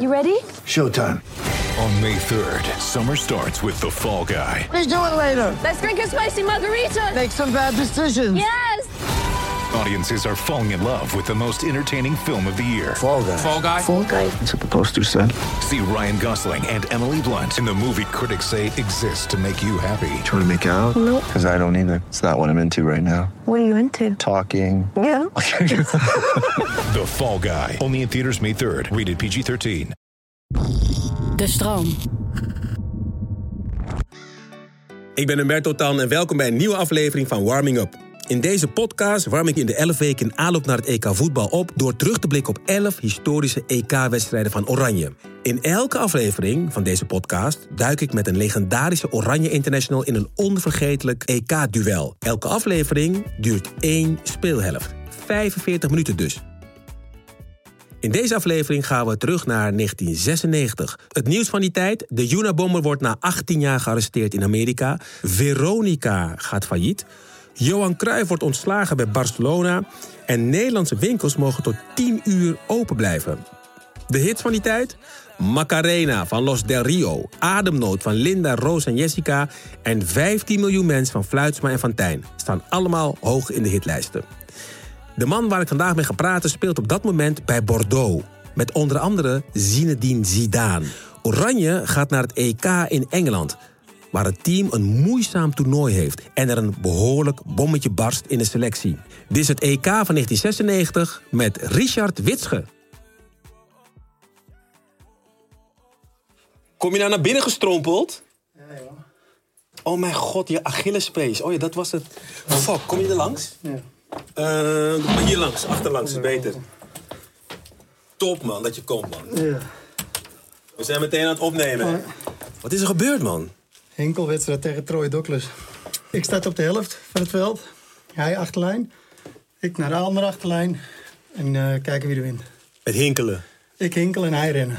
You ready? Showtime. On May 3rd, summer starts with The Fall Guy. Let's do it later. Let's drink a spicy margarita. Make some bad decisions. Yes. Audiences are falling in love with the most entertaining film of the year. Fall guy. Fall guy. Fall guy. That's what the poster said. See Ryan Gosling and Emily Blunt in the movie critics say exists to make you happy. Trying to make it out? Nope. Because I don't either. It's not what I'm into right now. What are you into? Talking. Yeah. The Fall Guy. Only in theaters May 3rd. Rated PG 13. De stroom. Ik ben Humberto Tan en welkom bij een nieuwe aflevering van Warming Up. In deze podcast warm ik in de 11 weken in aanloop naar het EK voetbal op... door terug te blikken op 11 historische EK-wedstrijden van Oranje. In elke aflevering van deze podcast duik ik met een legendarische Oranje International... in een onvergetelijk EK-duel. Elke aflevering duurt één speelhelft. 45 minuten dus. In deze aflevering gaan we terug naar 1996. Het nieuws van die tijd: de Unabomber wordt na 18 jaar gearresteerd in Amerika. Veronica gaat failliet. Johan Cruijff wordt ontslagen bij Barcelona. En Nederlandse winkels mogen tot 10 uur open blijven. De hits van die tijd? Macarena van Los Del Rio, Ademnood van Linda, Roos en Jessica... en 15 miljoen mensen van Fluitsma en Fantijn... staan allemaal hoog in de hitlijsten. De man waar ik vandaag mee ga praten speelt op dat moment bij Bordeaux. Met onder andere Zinedine Zidane. Oranje gaat naar het EK in Engeland. Waar het team een moeizaam toernooi heeft. En er een behoorlijk bommetje barst in de selectie. Dit is het EK van 1996 met Richard Witsche. Kom je nou naar binnen gestrompeld? Oh mijn god, je Achillespees. Oh ja, dat was het. Fuck, kom je er langs? Ja. maar hier langs, achterlangs is beter. Top man, dat je komt man. Ja. We zijn meteen aan het opnemen. hè? Wat is er gebeurd man? Enkelwedstrijd tegen Troy Douglas. Ik sta op de helft van het veld. Hij achterlijn. Ik naar de andere achterlijn. En eh, kijken wie er wint. Het hinkelen. Ik hinkel en hij rennen.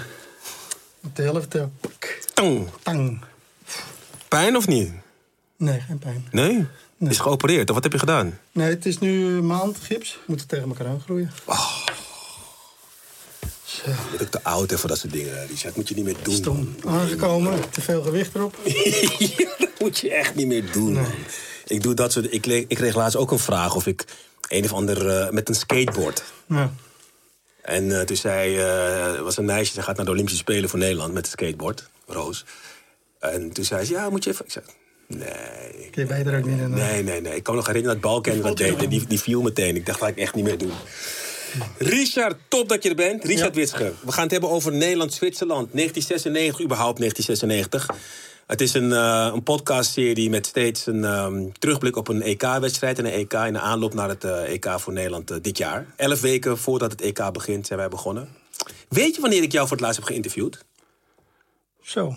Op de helft. eh, pak, Tang. tang. Pijn of niet? Nee, geen pijn. Nee? Is geopereerd of wat heb je gedaan? Nee, het is nu een maand gips. We moeten tegen elkaar aan groeien. Je bent ook te oud hè, voor dat soort dingen, Richard. Moet je niet meer doen. Stom. man. Aangekomen. Te veel gewicht erop. Ja, dat moet je echt niet meer doen, man. Ik doe dat soort... Ik, le- ik kreeg laatst ook een vraag of ik een of ander... eh, met een skateboard. Ja. En eh, toen zei... eh, er was een meisje, ze gaat naar de Olympische Spelen voor Nederland... met een skateboard, Roos. En toen zei ze, ja, moet je even... Ik zei, nee. Kun je beter ook niet in. eh. Nee, nee, nee. Ik kan me nog herinneren dat Balken dat deed. en Die, die viel meteen. Ik dacht, dat ga ik echt niet meer doen. Richard, top dat je er bent. Richard Witsche. We gaan het hebben over Nederland-Zwitserland. 1996, überhaupt 1996. Het is een, eh, een podcastserie met steeds een ehm, terugblik op een EK-wedstrijd. En een EK in de aanloop naar het eh, EK voor Nederland eh, dit jaar. Elf weken voordat het EK begint zijn wij begonnen. Weet je wanneer ik jou voor het laatst heb geïnterviewd? Zo.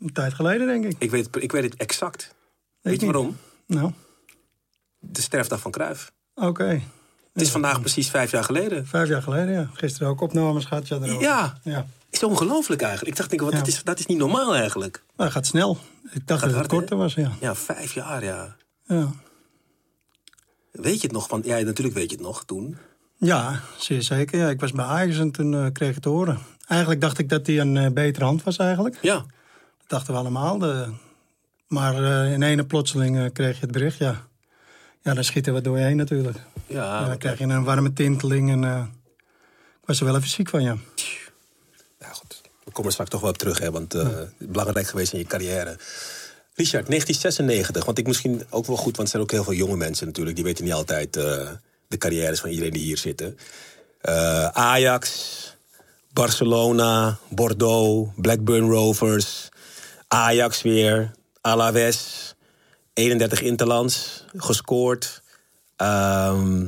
Een tijd geleden, denk ik. Ik weet, het- ik weet het exact. Weet je niet. waarom? Nou, De sterfdag van Cruijff. oké. Het is vandaag precies vijf jaar geleden. Vijf jaar geleden, ja. Gisteren ook opnames gehad. Ja. erover. Ja. ja. is ongelooflijk eigenlijk. Ik dacht, denk, ik, wat, Ja. dat, is, dat is niet normaal eigenlijk. Nou, gaat snel. Ik dacht dat het hard, hè? korter was, ja. Ja, vijf jaar, ja. Ja, Weet je het nog? Van, ja, natuurlijk weet je het nog toen. ja zeer zeker. Ja, ik was bij Ajax en toen eh, kreeg ik het te horen. Eigenlijk dacht ik dat hij een eh, betere hand was eigenlijk. Ja. Dat dachten we allemaal. De... Maar eh, in ene plotseling eh, kreeg je het bericht, ja. Ja, dan schieten we door je heen natuurlijk. Ja, Ja, dan krijg je een warme tinteling en... eh, ik was er wel even ziek van, ja. nou goed. We komen er straks toch wel op terug, hè, want eh, belangrijk geweest in je carrière. Richard, 1996. Want ik misschien ook wel goed, want er zijn ook heel veel jonge mensen natuurlijk. Die weten niet altijd eh, de carrières van iedereen die hier zitten. Eh, Ajax, Barcelona, Bordeaux, Blackburn Rovers, Ajax weer, Alaves, 31 Interlands, gescoord. Ehm,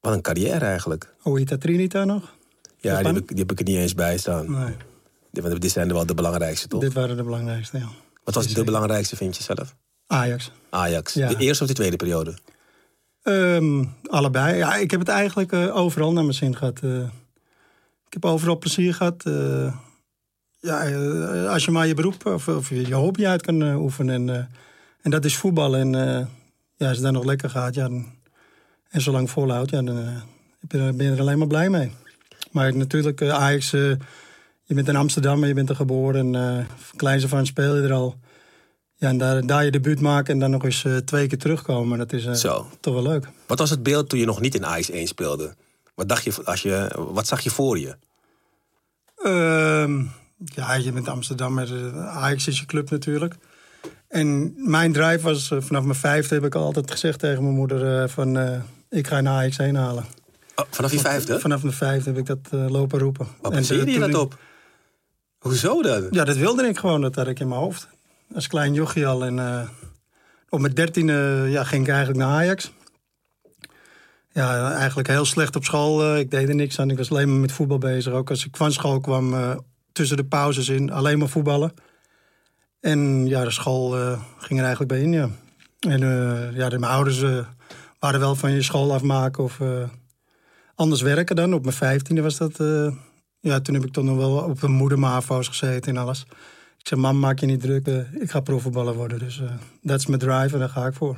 wat een carrière eigenlijk. Oita Trinita nog. Ja, die Japan? heb, ik, die heb ik er niet eens bij staan. Nee, Dit- want Dit zijn wel de belangrijkste, toch? dit waren de belangrijkste, ja. Wat was de belangrijkste, vind je zelf? Ajax. Ajax. Ja. De eerste of de tweede periode? Ehm, allebei. Ja, ik heb het eigenlijk eh, overal naar mijn zin gehad. eh. ik heb overal plezier gehad. eh. ja, eh, als je maar je beroep of, of je je hobby uit kan eh, oefenen. En, eh, en dat is voetbal. En eh, ja, als het dan nog lekker gaat ja, dan- en zo lang volhoudt, ja, dan eh, heb je er- ben je er alleen maar blij mee. Maar natuurlijk, eh, Ajax, eh, je bent in Amsterdam, je bent er geboren. En, eh kleins af aan speel je er al. Ja, en daar, daar je debuut maken en dan nog eens eh, twee keer terugkomen. Dat is eh, Zo. toch wel leuk. Wat was het beeld toen je nog niet in Ajax 1 speelde? Wat, dacht je, als je, wat zag je voor je? Ehm, ja, je bent Amsterdammer. eh, Ajax is je club natuurlijk. En mijn drive was, eh, vanaf mijn vijfde heb ik altijd gezegd tegen mijn moeder... eh, van, eh, ik ga naar Ajax heen halen. Oh, vanaf je vijfde? Vanaf mijn vijfde heb ik dat eh, lopen roepen. Waar En, eh, baseerde je toen dat ik- op? Hoezo dan? Ja, dat wilde ik gewoon. Dat had ik in mijn hoofd. Als klein jochie al. En eh, op mijn dertiende eh, ja, ging ik eigenlijk naar Ajax. Ja, eigenlijk heel slecht op school. eh, ik deed er niks aan. Ik was alleen maar met voetbal bezig. Ook als ik van school kwam, eh, tussen de pauzes in, alleen maar voetballen. En ja, de school eh, ging er eigenlijk bij in, ja. En eh, ja, de- mijn ouders eh, waren wel van je school afmaken of eh, anders werken dan. Op mijn vijftiende was dat... eh, ja, toen heb ik toch nog wel op een moedermavo's gezeten en alles. Ik zei, mam, maak je niet druk. eh, ik ga profvoetballer worden. Dus eh, dat is mijn drive en daar ga ik voor.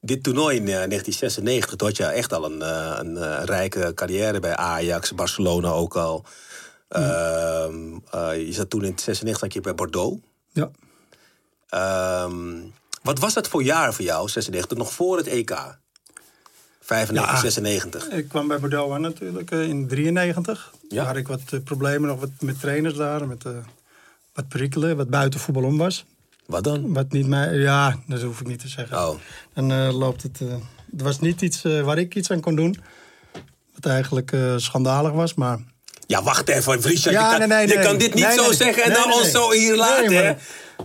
Dit toernooi in eh, 1996, toen had je echt al een, eh, een eh, rijke carrière bij Ajax, Barcelona ook al. Ehm, eh, je zat toen in 96 had je bij Bordeaux. Ja. Ehm, wat was dat voor jaar voor jou, 96, nog voor het EK? 95, Ja. 96. Ik kwam bij Bordeaux aan natuurlijk eh, in 93. Ja. Daar had ik wat eh, problemen nog wat, met trainers daar. Met eh, wat prikkelen, wat buiten voetbal om was. Wat dan? Wat niet mij... Ja, dat hoef ik niet te zeggen. Oh, Dan eh, loopt het... eh, het was niet iets eh, waar ik iets aan kon doen. Wat eigenlijk eh, schandalig was, maar... ja, wacht even, Richard. je kan, je kan dit niet Nee, zo nee. zeggen en Nee, dan nee, ons nee. zo hier Nee, laten. hè? maar-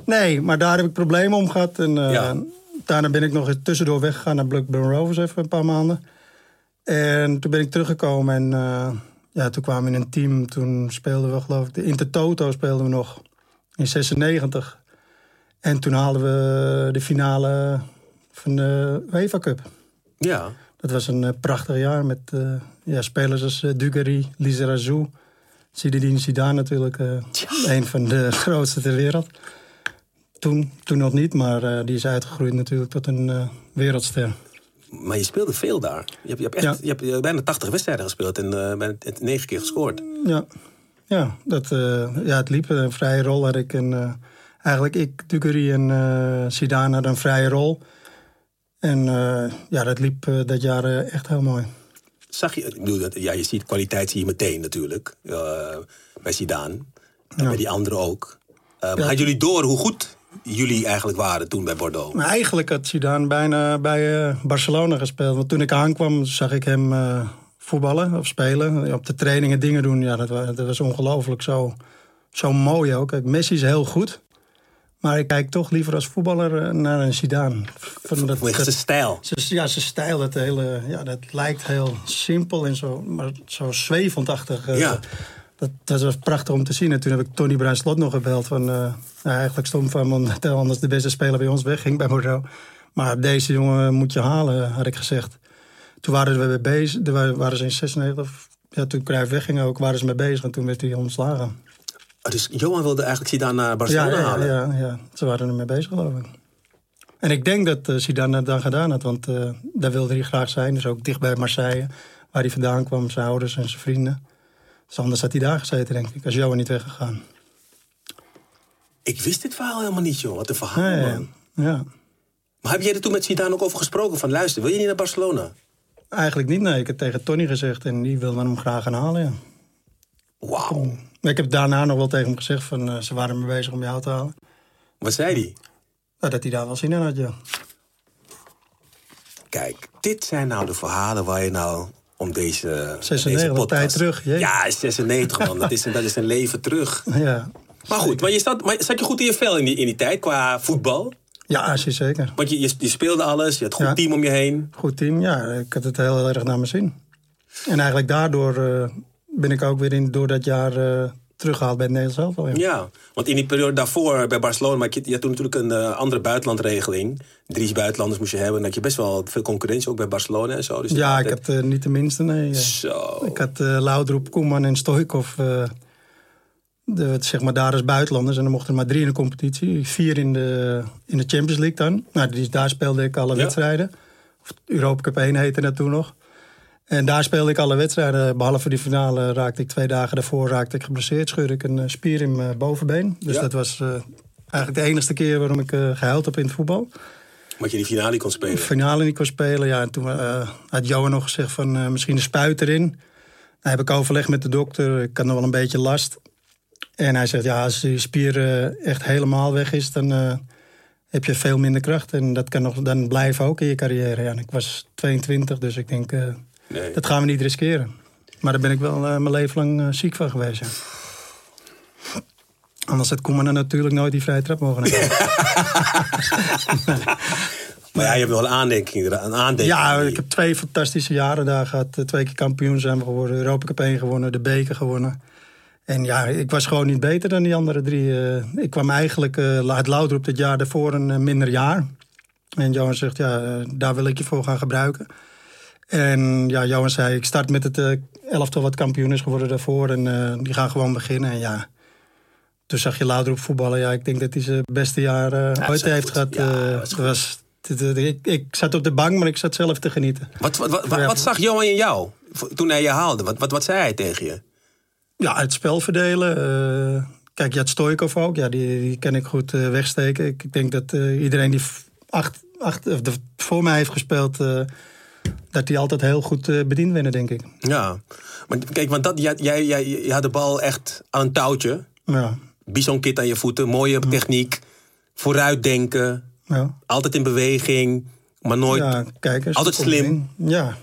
Nee, maar daar heb ik problemen om gehad. En, eh, Ja. Daarna ben ik nog eens tussendoor weggegaan naar Blackburn Rovers even een paar maanden. En toen ben ik teruggekomen en eh, ja, toen kwamen we in een team. Toen speelden we geloof ik, de Intertoto speelden we nog in 96. En toen haalden we de finale van de UEFA Cup. Ja. Dat was een eh, prachtig jaar met eh, ja, spelers als eh, Dugarry, Lizarazu, Zinedine Zidane natuurlijk. eh, Een van de grootste ter wereld. Toen, toen nog niet, maar eh, die is uitgegroeid natuurlijk tot een eh, wereldster. Maar je speelde veel daar. Je hebt, je hebt, echt, Ja. je hebt eh, bijna 80 wedstrijden gespeeld en eh, bijna t- negen keer gescoord. Ja, ja, dat, eh, ja het liep. Een vrije rol had ik. En, eh, eigenlijk ik, Dugarry en eh Zidane hadden een vrije rol. En eh, ja, dat liep eh, dat jaar eh, echt heel mooi. Zag je, ik bedoel, dat- ja, je ziet kwaliteit zie je meteen natuurlijk. Eh, bij Zidane. En bij die anderen ook. Eh, maar Ja. Hadden jullie door hoe goed jullie eigenlijk waren toen bij Bordeaux? Maar eigenlijk had Zidane bijna bij eh, Barcelona gespeeld. Want toen ik aankwam zag ik hem eh, voetballen of spelen. Op de trainingen dingen doen. Ja, dat, wa- dat was ongelooflijk zo, zo mooi ook. Kijk, Messi is heel goed. Maar ik kijk toch liever als voetballer eh, naar een Zidane. Van dat, Vanwege dat- zijn stijl. zijn- ja, zijn stijl, dat, hele, ja, dat lijkt heel simpel en zo, maar zo zwevendachtig. eh, Ja. Dat, dat was prachtig om te zien. En toen heb ik Tony Bruinslot nog gebeld. Van, eh, nou, eigenlijk stom van, want hij anders de beste speler bij ons wegging bij Bordeaux. Maar deze jongen moet je halen, had ik gezegd. Toen waren we mee bezig, toen wa- waren ze in 96, of- ja, toen Cruijff wegging ook, waren ze mee bezig. En toen werd hij ontslagen. Oh, Dus Johan wilde eigenlijk Zidane naar Ja, Barcelona ja, halen. ja, ja, ze waren er mee bezig, geloof ik. En ik denk dat eh, Zidane dat dan gedaan had, want eh, daar wilde hij graag zijn. Dus ook dicht bij Marseille, waar hij vandaan kwam, zijn ouders en zijn vrienden. Dus anders had hij daar gezeten, denk ik, als Johan niet weggegaan. Ik wist dit verhaal helemaal niet, joh. Wat een verhaal, Ja, ja, Oh, man. ja. Maar heb jij er toen met Zidane ook over gesproken? Van luister, wil je niet naar Barcelona? Eigenlijk niet, nee. Ik heb tegen Tony gezegd en die wilde hem graag gaan halen, ja. Wauw. Maar Ik heb daarna nog wel tegen hem gezegd van eh, ze waren mee bezig om jou te halen. Wat zei hij? Nou, dat hij daar wel zin in had, ja. Kijk, dit zijn nou de verhalen waar je nou om deze, 96, deze podcast... tijd terug, jee. Ja, 96 man, dat is, een- dat is een leven terug. Ja, Maar goed, maar, je zat, maar zat je goed in je vel in die, in die tijd qua voetbal? ja zie- zeker. Want je, je, je speelde alles, je had een goed Ja. team om je heen. goed team. Ja, ik had het heel erg naar mijn zin. En eigenlijk daardoor eh, ben ik ook weer in, door dat jaar eh, teruggehaald bij het Nederlands elftal. ja. Ja, want in die periode daarvoor bij Barcelona, maar je, je had toen natuurlijk een eh, andere buitenlandregeling. Drie buitenlanders moest je hebben. En dat je best wel veel concurrentie ook bij Barcelona en zo. Dus Ja, ik dat- had eh, niet de minste, nee. ja. Zo. Ik had eh Laudrup, Koeman en Stoikov. eh, de, zeg maar daar als buitenlanders. En dan mochten er maar drie in de competitie. Vier in de, in de Champions League dan. Nou, die, daar speelde ik alle Ja. wedstrijden. Of Europa Cup 1 heette dat toen nog. En daar speelde ik alle wedstrijden. Behalve die finale raakte ik twee dagen daarvoor raakte ik geblesseerd. Scheurde ik een eh, spier in mijn bovenbeen. Dus Ja. dat was eh, eigenlijk de enige keer waarom ik eh, gehuild heb in het voetbal Wat je die finale kon spelen. finale niet kon spelen. Ja, en toen eh, had Johan nog gezegd van eh, misschien een spuit erin. Nou, heb ik overleg met de dokter. Ik had nog wel een beetje last. En hij zegt, ja, als die spier eh, echt helemaal weg is, dan eh, heb je veel minder kracht. En dat kan nog dan blijven ook in je carrière. Ja, en ik was 22, dus ik denk, eh, Nee. dat gaan we niet riskeren. Maar daar ben ik wel eh, mijn leven lang eh, ziek van geweest, ja. Anders had Koeman er natuurlijk nooit die vrije trap mogen nemen. Maar ja, je hebt wel een aandenking. Een aandenking Ja, ik heb twee fantastische jaren daar gehad. Eh, Twee keer kampioen zijn we geworden. Europa Cup 1 gewonnen, de beker gewonnen. En ja, ik was gewoon niet beter dan die andere drie. Eh, ik kwam eigenlijk uh, het louter op dit jaar daarvoor een eh, minder jaar. En Johan zegt, ja, eh, daar wil ik je voor gaan gebruiken. En ja, Johan zei, ik start met het eh, elftal wat kampioen is geworden daarvoor. En eh, die gaan gewoon beginnen. En ja, toen zag je Laudrup voetballen. Ja, ik denk dat hij zijn beste jaar eh, was ooit goed. heeft gehad. Ja, eh, dat was goed. was, dit- dit- ik, ik zat op de bank, maar ik zat zelf te genieten. Wat, wat, wat, wat, wat zag Johan in jou v- toen hij je haalde? Wat, wat, wat zei hij tegen je? Ja, het spel verdelen. eh, kijk, Jad Stojkov ook. Ja, die, die kan ik goed eh, wegsteken. Ik, ik denk dat eh, iedereen die v- acht, acht, of de, voor mij heeft gespeeld... eh, dat die altijd heel goed eh, bediend werden, denk ik. Ja, maar kijk, want dat, jij, jij, jij, je had de bal echt aan een touwtje. Ja, Bisonkit aan je voeten, mooie Mm. techniek. Vooruitdenken, ja. altijd in beweging, maar nooit... ja kijk eens. Altijd slim. Ja.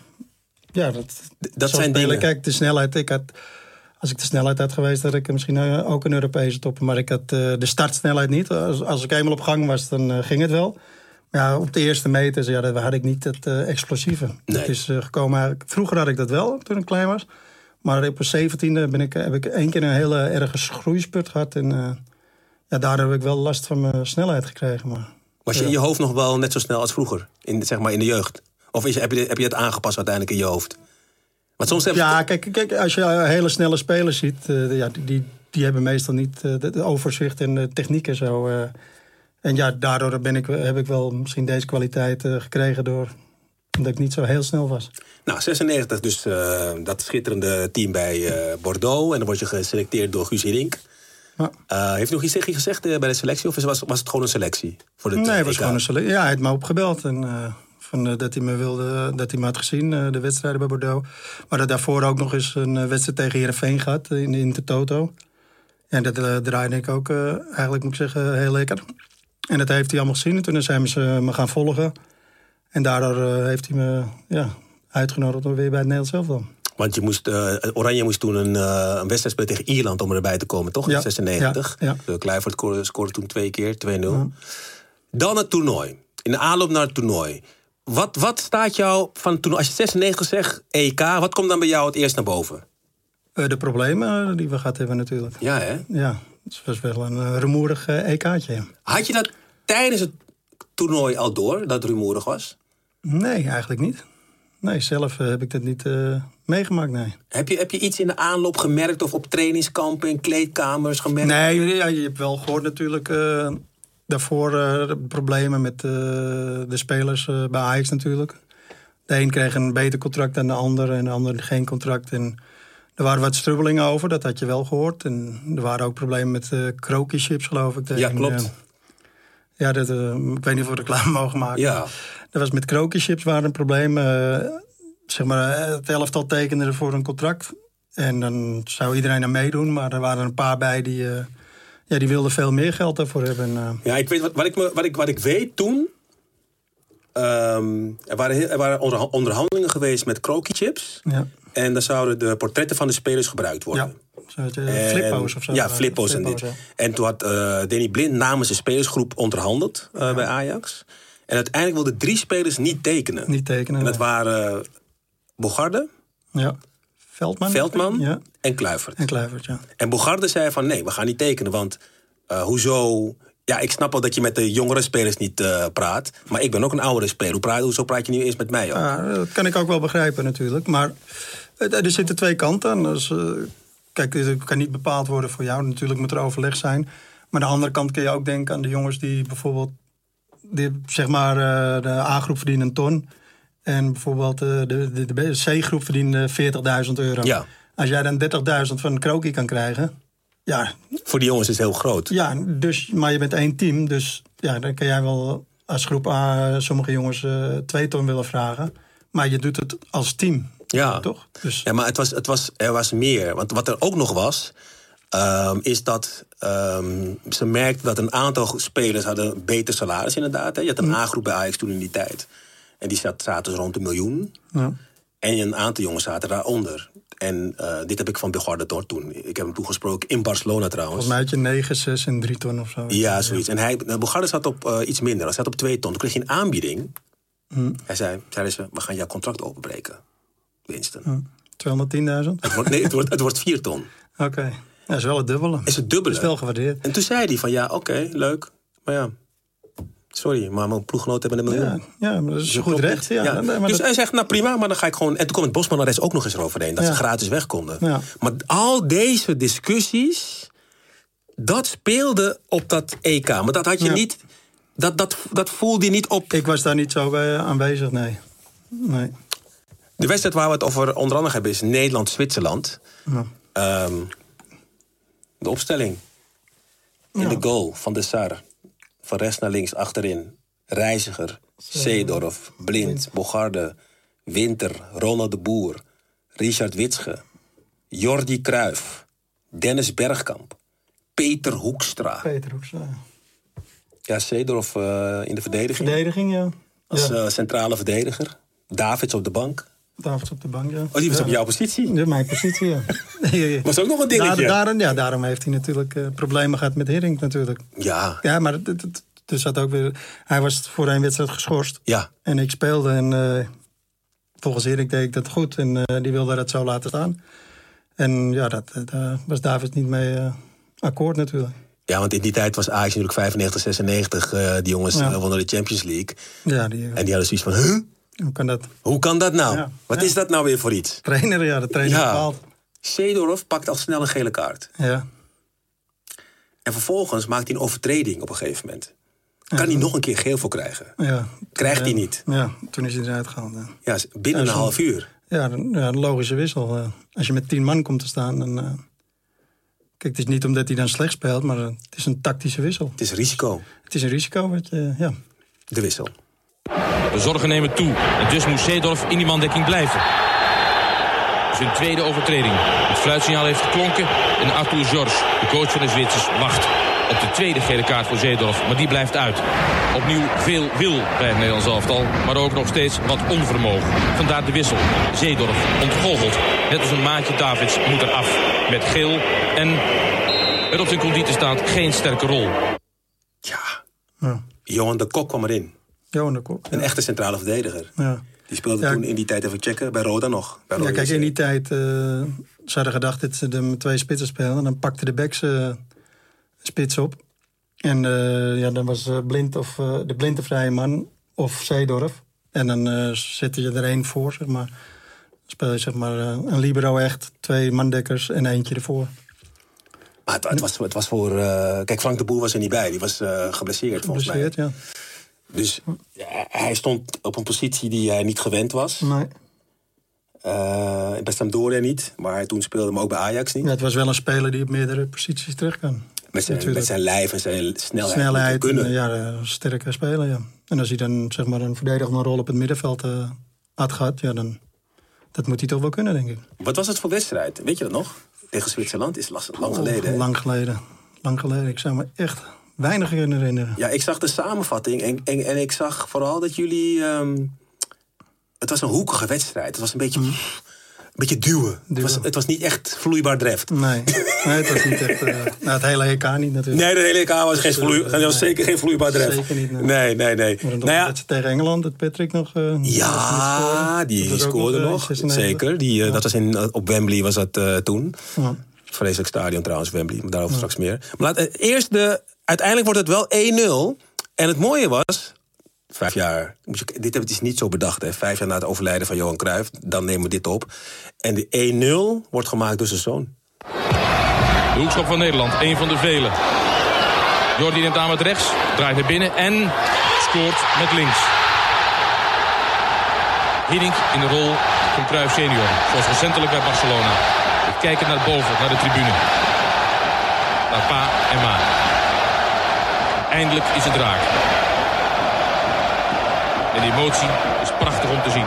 Ja, dat, D- dat zo zijn spelen. dingen. Kijk, de snelheid. Ik had, als ik de snelheid had geweest, had ik misschien eh, ook een Europese topper. Maar ik had eh, de startsnelheid niet. Als, als ik eenmaal op gang was, dan eh, ging het wel. Maar ja, op de eerste meters ja, dat had ik niet het eh, explosieve. Nee. Dat is eh, gekomen eigenlijk- Vroeger had ik dat wel, toen ik klein was. Maar op mijn 17e ben ik, heb ik één keer een hele erge groeispurt gehad. En eh, ja, daardoor heb ik wel last van mijn snelheid gekregen. Maar Was je in je hoofd nog wel net zo snel als vroeger? In, zeg maar in de jeugd? Of is, heb, je, heb je het aangepast uiteindelijk in je hoofd? Want soms heb je... Ja, kijk, kijk, als je eh, hele snelle spelers ziet, eh, ja, die- die, die hebben meestal niet eh, de- de overzicht en de techniek en zo. eh. en ja, daardoor ben ik, heb ik wel misschien deze kwaliteit eh, gekregen door dat ik niet zo heel snel was. Nou, 96 dus eh, dat schitterende team bij eh, Bordeaux. En dan word je geselecteerd door Guus Hiddink. Ja. Eh, heeft nog iets tegen je gezegd eh, bij de selectie? Of is- was, was het gewoon een selectie? Voor dit, Nee, eh, het was EK? gewoon een sele- Ja, hij heeft me opgebeld en, eh, van, eh, dat hij me wilde, dat hij me had gezien, eh, de wedstrijden bij Bordeaux. Maar dat daarvoor ook nog eens een eh, wedstrijd tegen Heerenveen gehad eh, in de Intertoto. En dat eh, draaide ik ook eh, eigenlijk, moet ik zeggen, heel lekker. En dat heeft hij allemaal gezien. En toen zijn ze eh, me gaan volgen. En daardoor eh, heeft hij me ja, uitgenodigd om weer bij het Nederlands elftal. Want je moest, eh, Oranje moest toen een, eh, een wedstrijd spelen tegen Ierland om erbij te komen, toch? In Ja, 96. ja, ja. De Kluivert scoorde, scoorde toen twee keer, 2-0. Dan het toernooi. In de aanloop naar het toernooi. Wat, wat staat jou van toen, als je 96 zegt, EK, wat komt dan bij jou het eerst naar boven? Eh, de problemen die we gehad hebben natuurlijk. Ja, hè? Ja, het was wel een eh, rumoerig eh, EK'tje. ja. Had je dat tijdens het toernooi al door, dat het rumoerig was? Nee, eigenlijk niet. Nee, zelf eh, heb ik dat niet eh, meegemaakt, nee. Heb je, heb je iets in de aanloop gemerkt of op trainingskampen, in kleedkamers gemerkt? Nee, ja, je hebt wel gehoord natuurlijk eh, daarvoor eh, de problemen met eh, de spelers eh, bij Ajax natuurlijk. De een kreeg een beter contract dan de ander en de ander geen contract. En er waren wat strubbelingen over, dat had je wel gehoord. En er waren ook problemen met eh krokieschips, geloof ik. De Ja, een, klopt. eh, ja, dat, eh, ik weet niet of we reclame mogen maken. Ja. Er was met krokieschips waren een probleem. eh, zeg maar, eh, het elftal tekende voor een contract. En dan zou iedereen aan meedoen. Maar er waren een paar bij die, eh, ja, die wilden veel meer geld daarvoor hebben. En, eh, Ja, ik weet wat, wat, ik, me- wat, ik, wat ik weet toen. ehm, er waren, heel- er waren onderha- onderhandelingen geweest met Kroki-chips. ja. En dan zouden de portretten van de spelers gebruikt ja. worden. Zo, het, eh, En- flippo's of zo. Ja, flippo's en dit. Flippo's, En toen had eh Danny Blind namens de spelersgroep onderhandeld eh, bij Ajax. En uiteindelijk wilden drie spelers niet tekenen. Niet tekenen, En dat nee. waren Bogarde, ja. Ja. Veldman. Veldman Ja. en Kluivert. En Kluivert, ja. En Bogarde zei van nee, we gaan niet tekenen. Want eh, hoezo... Ja, ik snap wel dat je met de jongere spelers niet eh, praat. Maar ik ben ook een oudere speler. Hoe praat, hoezo praat je nu eerst met mij? Ook? Ja, dat kan ik ook wel begrijpen natuurlijk. Maar eh, er zitten twee kanten aan. Dus, eh, kijk, het kan niet bepaald worden voor jou. Natuurlijk moet er overleg zijn. Maar aan de andere kant kun je ook denken aan de jongens die bijvoorbeeld... Die, zeg maar, eh, de A-groep verdienen een ton. En bijvoorbeeld eh, de, de, de C-groep verdienen 40.000 euro. Ja. Als jij dan 30.000 van Kroki kan krijgen... Ja, Voor die jongens is het heel groot. ja, dus, maar je bent één team, dus ja, dan kan jij wel als groep A sommige jongens eh, twee ton willen vragen. Maar je doet het als team, Ja. toch? Dus, Ja, maar het was, het was, er was meer. Want wat er ook nog was, ehm, is dat ehm, ze merkten dat een aantal spelers hadden een beter salaris inderdaad. Hè. Je had Mm. een A-groep bij Ajax toen in die tijd. En die zat, zaten dus rond een miljoen. En een aantal jongens zaten daaronder. En eh, dit heb ik van Begarde Dort toen. Ik heb hem toegesproken in Barcelona trouwens. Volgens mij had je 9, 6 en 3 ton of zo. Ja, zoiets. En hij, nou, Bogarde zat op eh, iets minder. Hij zat op twee ton. Toen kreeg hij een aanbieding. Mm. Hij zei, zeiden ze, we gaan jouw contract openbreken. Mm. Winston. 210.000? Het wordt, nee, het wordt, het wordt vier ton. Oké, Ja, dat is wel het dubbele. Is het dubbele. Is wel gewaardeerd. En toen zei hij van ja, oké, leuk. Maar ja, sorry, maar mijn ploeggenoten hebben een miljoen. Ja, ja maar dat is Dat goed klopt recht. niet. Ja. Nee, maar dus dat- hij zegt, nou prima, maar dan ga ik gewoon... En toen kwam het Bosman arrest ook nog eens eroverheen. Dat Ja. ze gratis weg konden. Ja. Maar al deze discussies... Dat speelde op dat EK. Maar dat had je Ja. niet... Dat, dat, dat voelde je niet op... Ik was daar niet zo bij aanwezig, nee. Nee. De wedstrijd waar we het over onder andere hebben... is Nederland-Zwitserland. Ehm, de opstelling. In de goal van de Sar. Van rechts naar links achterin. Reiziger, Seedorf, Blind, Bogarde, Winter, Ronald de Boer, Richard Witsche, Jordi Kruijf, Dennis Bergkamp, Peter Hoekstra. Peter Hoekstra. Ja, Seedorf eh, in de verdediging. Verdediging, ja. Als ja. eh, centrale verdediger. Davids op de bank. Davids op de bank, ja. Oh, die was Ja. op jouw positie. Ja, mijn positie, ja. Was ook nog een dingetje. Daar- daarom, ja, daarom heeft hij natuurlijk eh, problemen gehad met Hiddink natuurlijk. Ja, Ja, maar het- het- het- er zat ook weer... Hij was voor één wedstrijd geschorst. ja. En ik speelde en eh, volgens Hiddink deed ik dat goed. En eh, die wilde dat zo laten staan. En ja, dat, eh, daar was David niet mee eh, akkoord natuurlijk. Ja, want in die tijd was Ajax natuurlijk 95, 96. eh, die jongens Ja. eh, wonnen de Champions League. Ja, die, eh, En die hadden zoiets van, huh? hoe kan dat? Hoe kan dat nou? Ja. Wat Ja. is dat nou weer voor iets? Trainer, ja, de trainer Ja. bepaalt. Seedorf pakt al snel een gele kaart. Ja. En vervolgens maakt hij een overtreding op een gegeven moment. Kan hij nog een keer geel voor krijgen? ja. Krijgt hij Ja. niet. Ja, toen is hij eruit gehaald. ja. Ja, binnen een half uur. Ja, een, ja, een logische wissel. eh. als je met tien man komt te staan, dan... eh, kijk, het is niet omdat hij dan slecht speelt, maar eh, het is een tactische wissel. Het is risico, Het is een risico, wat, eh, ja. de wissel. De zorgen nemen toe. En dus moest Zeedorf in die mandekking blijven. Zijn tweede overtreding. Het fluitsignaal heeft geklonken. En Arthur Georges, de coach van de Zwitsers, wacht op de tweede gele kaart voor Zeedorf. Maar die blijft uit. Opnieuw veel wil bij het Nederlands elftal. Maar ook nog steeds wat onvermogen. Vandaar de wissel. Zeedorf ontgoocheld. Net als een maatje Davids moet er af. Met geel. En er op zijn conditie staat geen sterke rol. Ja. Ja. Johan de Kok kwam erin. Johan de Kok. Een echte centrale verdediger. Ja. Die speelde Ja. toen in die tijd even checken bij Roda nog. Bij Ja, Roda kijk, in die JC. tijd eh ze hadden gedacht dat ze er met twee spitsen speelden. En dan pakte de backs eh, spits op. En eh, ja, dan was eh, blind of, eh, de blinde vrije man of Zeedorf. En dan eh zette je er één voor, zeg maar. Dan speel je zeg maar eh, een libero echt, twee mandekkers en eentje ervoor. Maar het, het was, het was voor... eh, kijk, Frank de Boer was er niet bij. Die was eh, geblesseerd volgens mij. Geblesseerd, ja. Dus ja, hij stond op een positie die hij niet gewend was. Nee. Eh, bij Sampdoria niet, maar hij toen speelde hem ook bij Ajax niet. Ja, het was wel een speler die op meerdere posities terecht kan. met, zijn, natuurlijk. met zijn lijf en zijn snelheid. snelheid. moeten kunnen. en, ja, een sterke speler, ja. En als hij dan zeg maar een verdedigende rol op het middenveld eh, had gehad, ja, dan dat moet hij toch wel kunnen, denk ik. Wat was het voor wedstrijd? Weet je dat nog? Tegen Zwitserland is last- lang geleden. hè? Lang geleden. Lang geleden. Ik zou me echt weinig kunnen herinneren. Ja, ik zag de samenvatting en, en, en ik Mm. zag vooral dat jullie... ehm, het was een hoekige wedstrijd. Het was een beetje... beetje duwen. Het, was, het was niet echt vloeibaar dreft. Nee, nee het was niet echt... eh, nou, het hele EK niet natuurlijk. Nee, de hele EK was, geen eh, vloei, was nee. zeker geen vloeibaar dreft. Zeker niet, nee. nee, nee, nee. Maar Nou ja, dat ze tegen Engeland, dat Patrick nog... eh, ja, die, Dat was ook scoorde nog, eh, nog. 96. Zeker. Die, eh, Dat was in, op Wembley was dat eh, toen. Ja. Vreselijk stadion trouwens, Wembley. Maar daarover straks meer. Maar laat, eh, eerst de... Uiteindelijk wordt het wel 1-0. En het mooie was... Vijf jaar... Moet je, dit hebben het is niet zo bedacht. Hè. Vijf jaar na het overlijden van Johan Cruijff. Dan nemen we dit op. En de 1-0 wordt gemaakt door zijn zoon. De hoekschop van Nederland, een van de vele. Jordi neemt aan met rechts, draait naar binnen en scoort met links. Hiddink in de rol van Cruijff senior, zoals recentelijk bij Barcelona. We kijken naar boven, naar de tribune. Naar pa en ma. Eindelijk is het raak. En de emotie is prachtig om te zien.